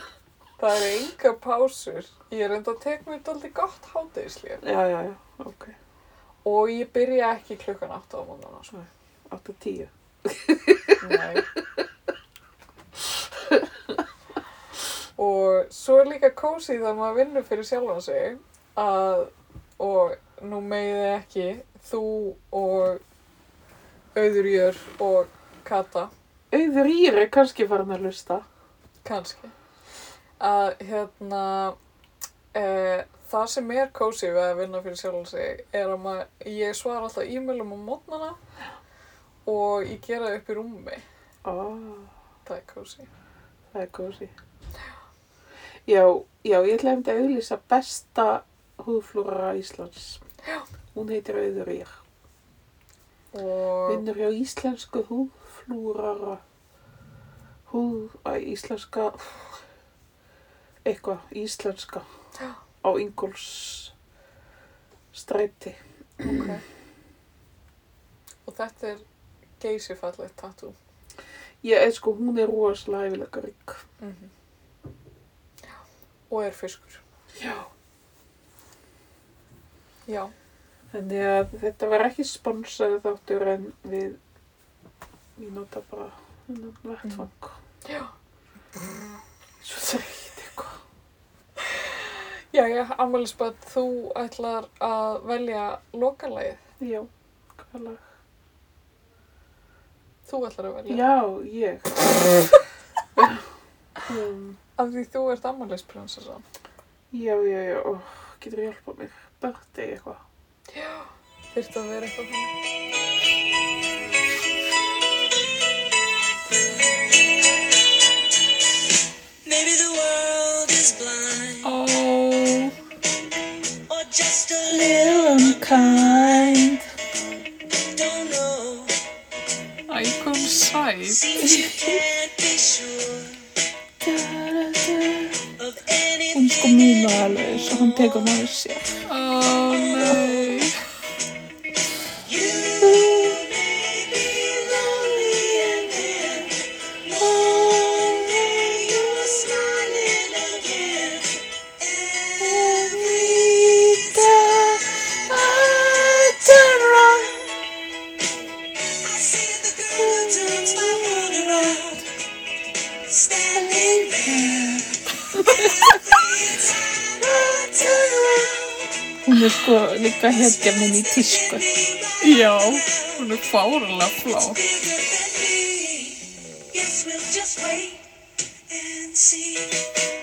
[SPEAKER 1] það eru enga pásur. Ég er enda að teka mér dálítið gott hátegislega.
[SPEAKER 2] Já, já, já, ok.
[SPEAKER 1] Og ég byrja ekki klukkan 8 á móndana, sko.
[SPEAKER 2] 8 10.
[SPEAKER 1] Nei. og svo er líka kósi þegar maður vinnur fyrir sjálfan sig að, og nú megiði ekki, þú og Auðurjör og Kata,
[SPEAKER 2] Auður Ír er kannski farin að lusta.
[SPEAKER 1] kannski, að hérna, e, það sem er kósi við að vinna fyrir sjálfan sig er að maður, ég svara alltaf e-mailum á mótnana og ég gera það upp í rúmi,
[SPEAKER 2] Ó,
[SPEAKER 1] það er kósi.
[SPEAKER 2] það er kósi. Já, já, ég ætla hefndi að auðlýsa besta húðflúra Íslands. Hún heitir Auður Ír.
[SPEAKER 1] Og...
[SPEAKER 2] Vinnur hjá íslensku húðflúrara. Húð, að íslenska, eitthvað, íslenska.
[SPEAKER 1] Já.
[SPEAKER 2] Á Ingolfs stræti.
[SPEAKER 1] Ok. Og þetta er geysifallegt tattoo.
[SPEAKER 2] Ég, eh, sko, hún er rosalega hæfileikarík.
[SPEAKER 1] Og er fiskur.
[SPEAKER 2] Já.
[SPEAKER 1] Já.
[SPEAKER 2] Þannig að þetta var ekki sponsor þáttur en við, við nota bara þennan vettfang.
[SPEAKER 1] Já.
[SPEAKER 2] Svo þreytt eitthvað.
[SPEAKER 1] Já, já, Amalisbad, þú ætlar að velja lokalægið.
[SPEAKER 2] Já, hvað lag?
[SPEAKER 1] Þú ætlar að velja.
[SPEAKER 2] Já, ég. um,
[SPEAKER 1] Af því þú ert Amalisprinsessa.
[SPEAKER 2] já, já, já, ó, getur hjálpað mér. Börti eitthvað.
[SPEAKER 1] Þyrfti að vera eitthvað þannig.
[SPEAKER 3] Maybe the world is blind
[SPEAKER 2] Ó,
[SPEAKER 3] or just a little
[SPEAKER 2] little unkind.
[SPEAKER 3] don't know.
[SPEAKER 1] Æ, kom sæl.
[SPEAKER 3] Seems you can't be sure
[SPEAKER 2] Da, da.
[SPEAKER 3] of
[SPEAKER 2] Hún
[SPEAKER 3] anything.
[SPEAKER 2] sko muna alveg svo hann tekur maður sér.
[SPEAKER 1] Ó, nei.
[SPEAKER 3] You may be lonely and then one day you're smiling again. Every time I turn around, I see the girl who turns my world around.
[SPEAKER 4] Hún er sko líka hetja minn í tísku.
[SPEAKER 2] Já, hún er fáralega flá.
[SPEAKER 3] Yes, we'll just wait and see.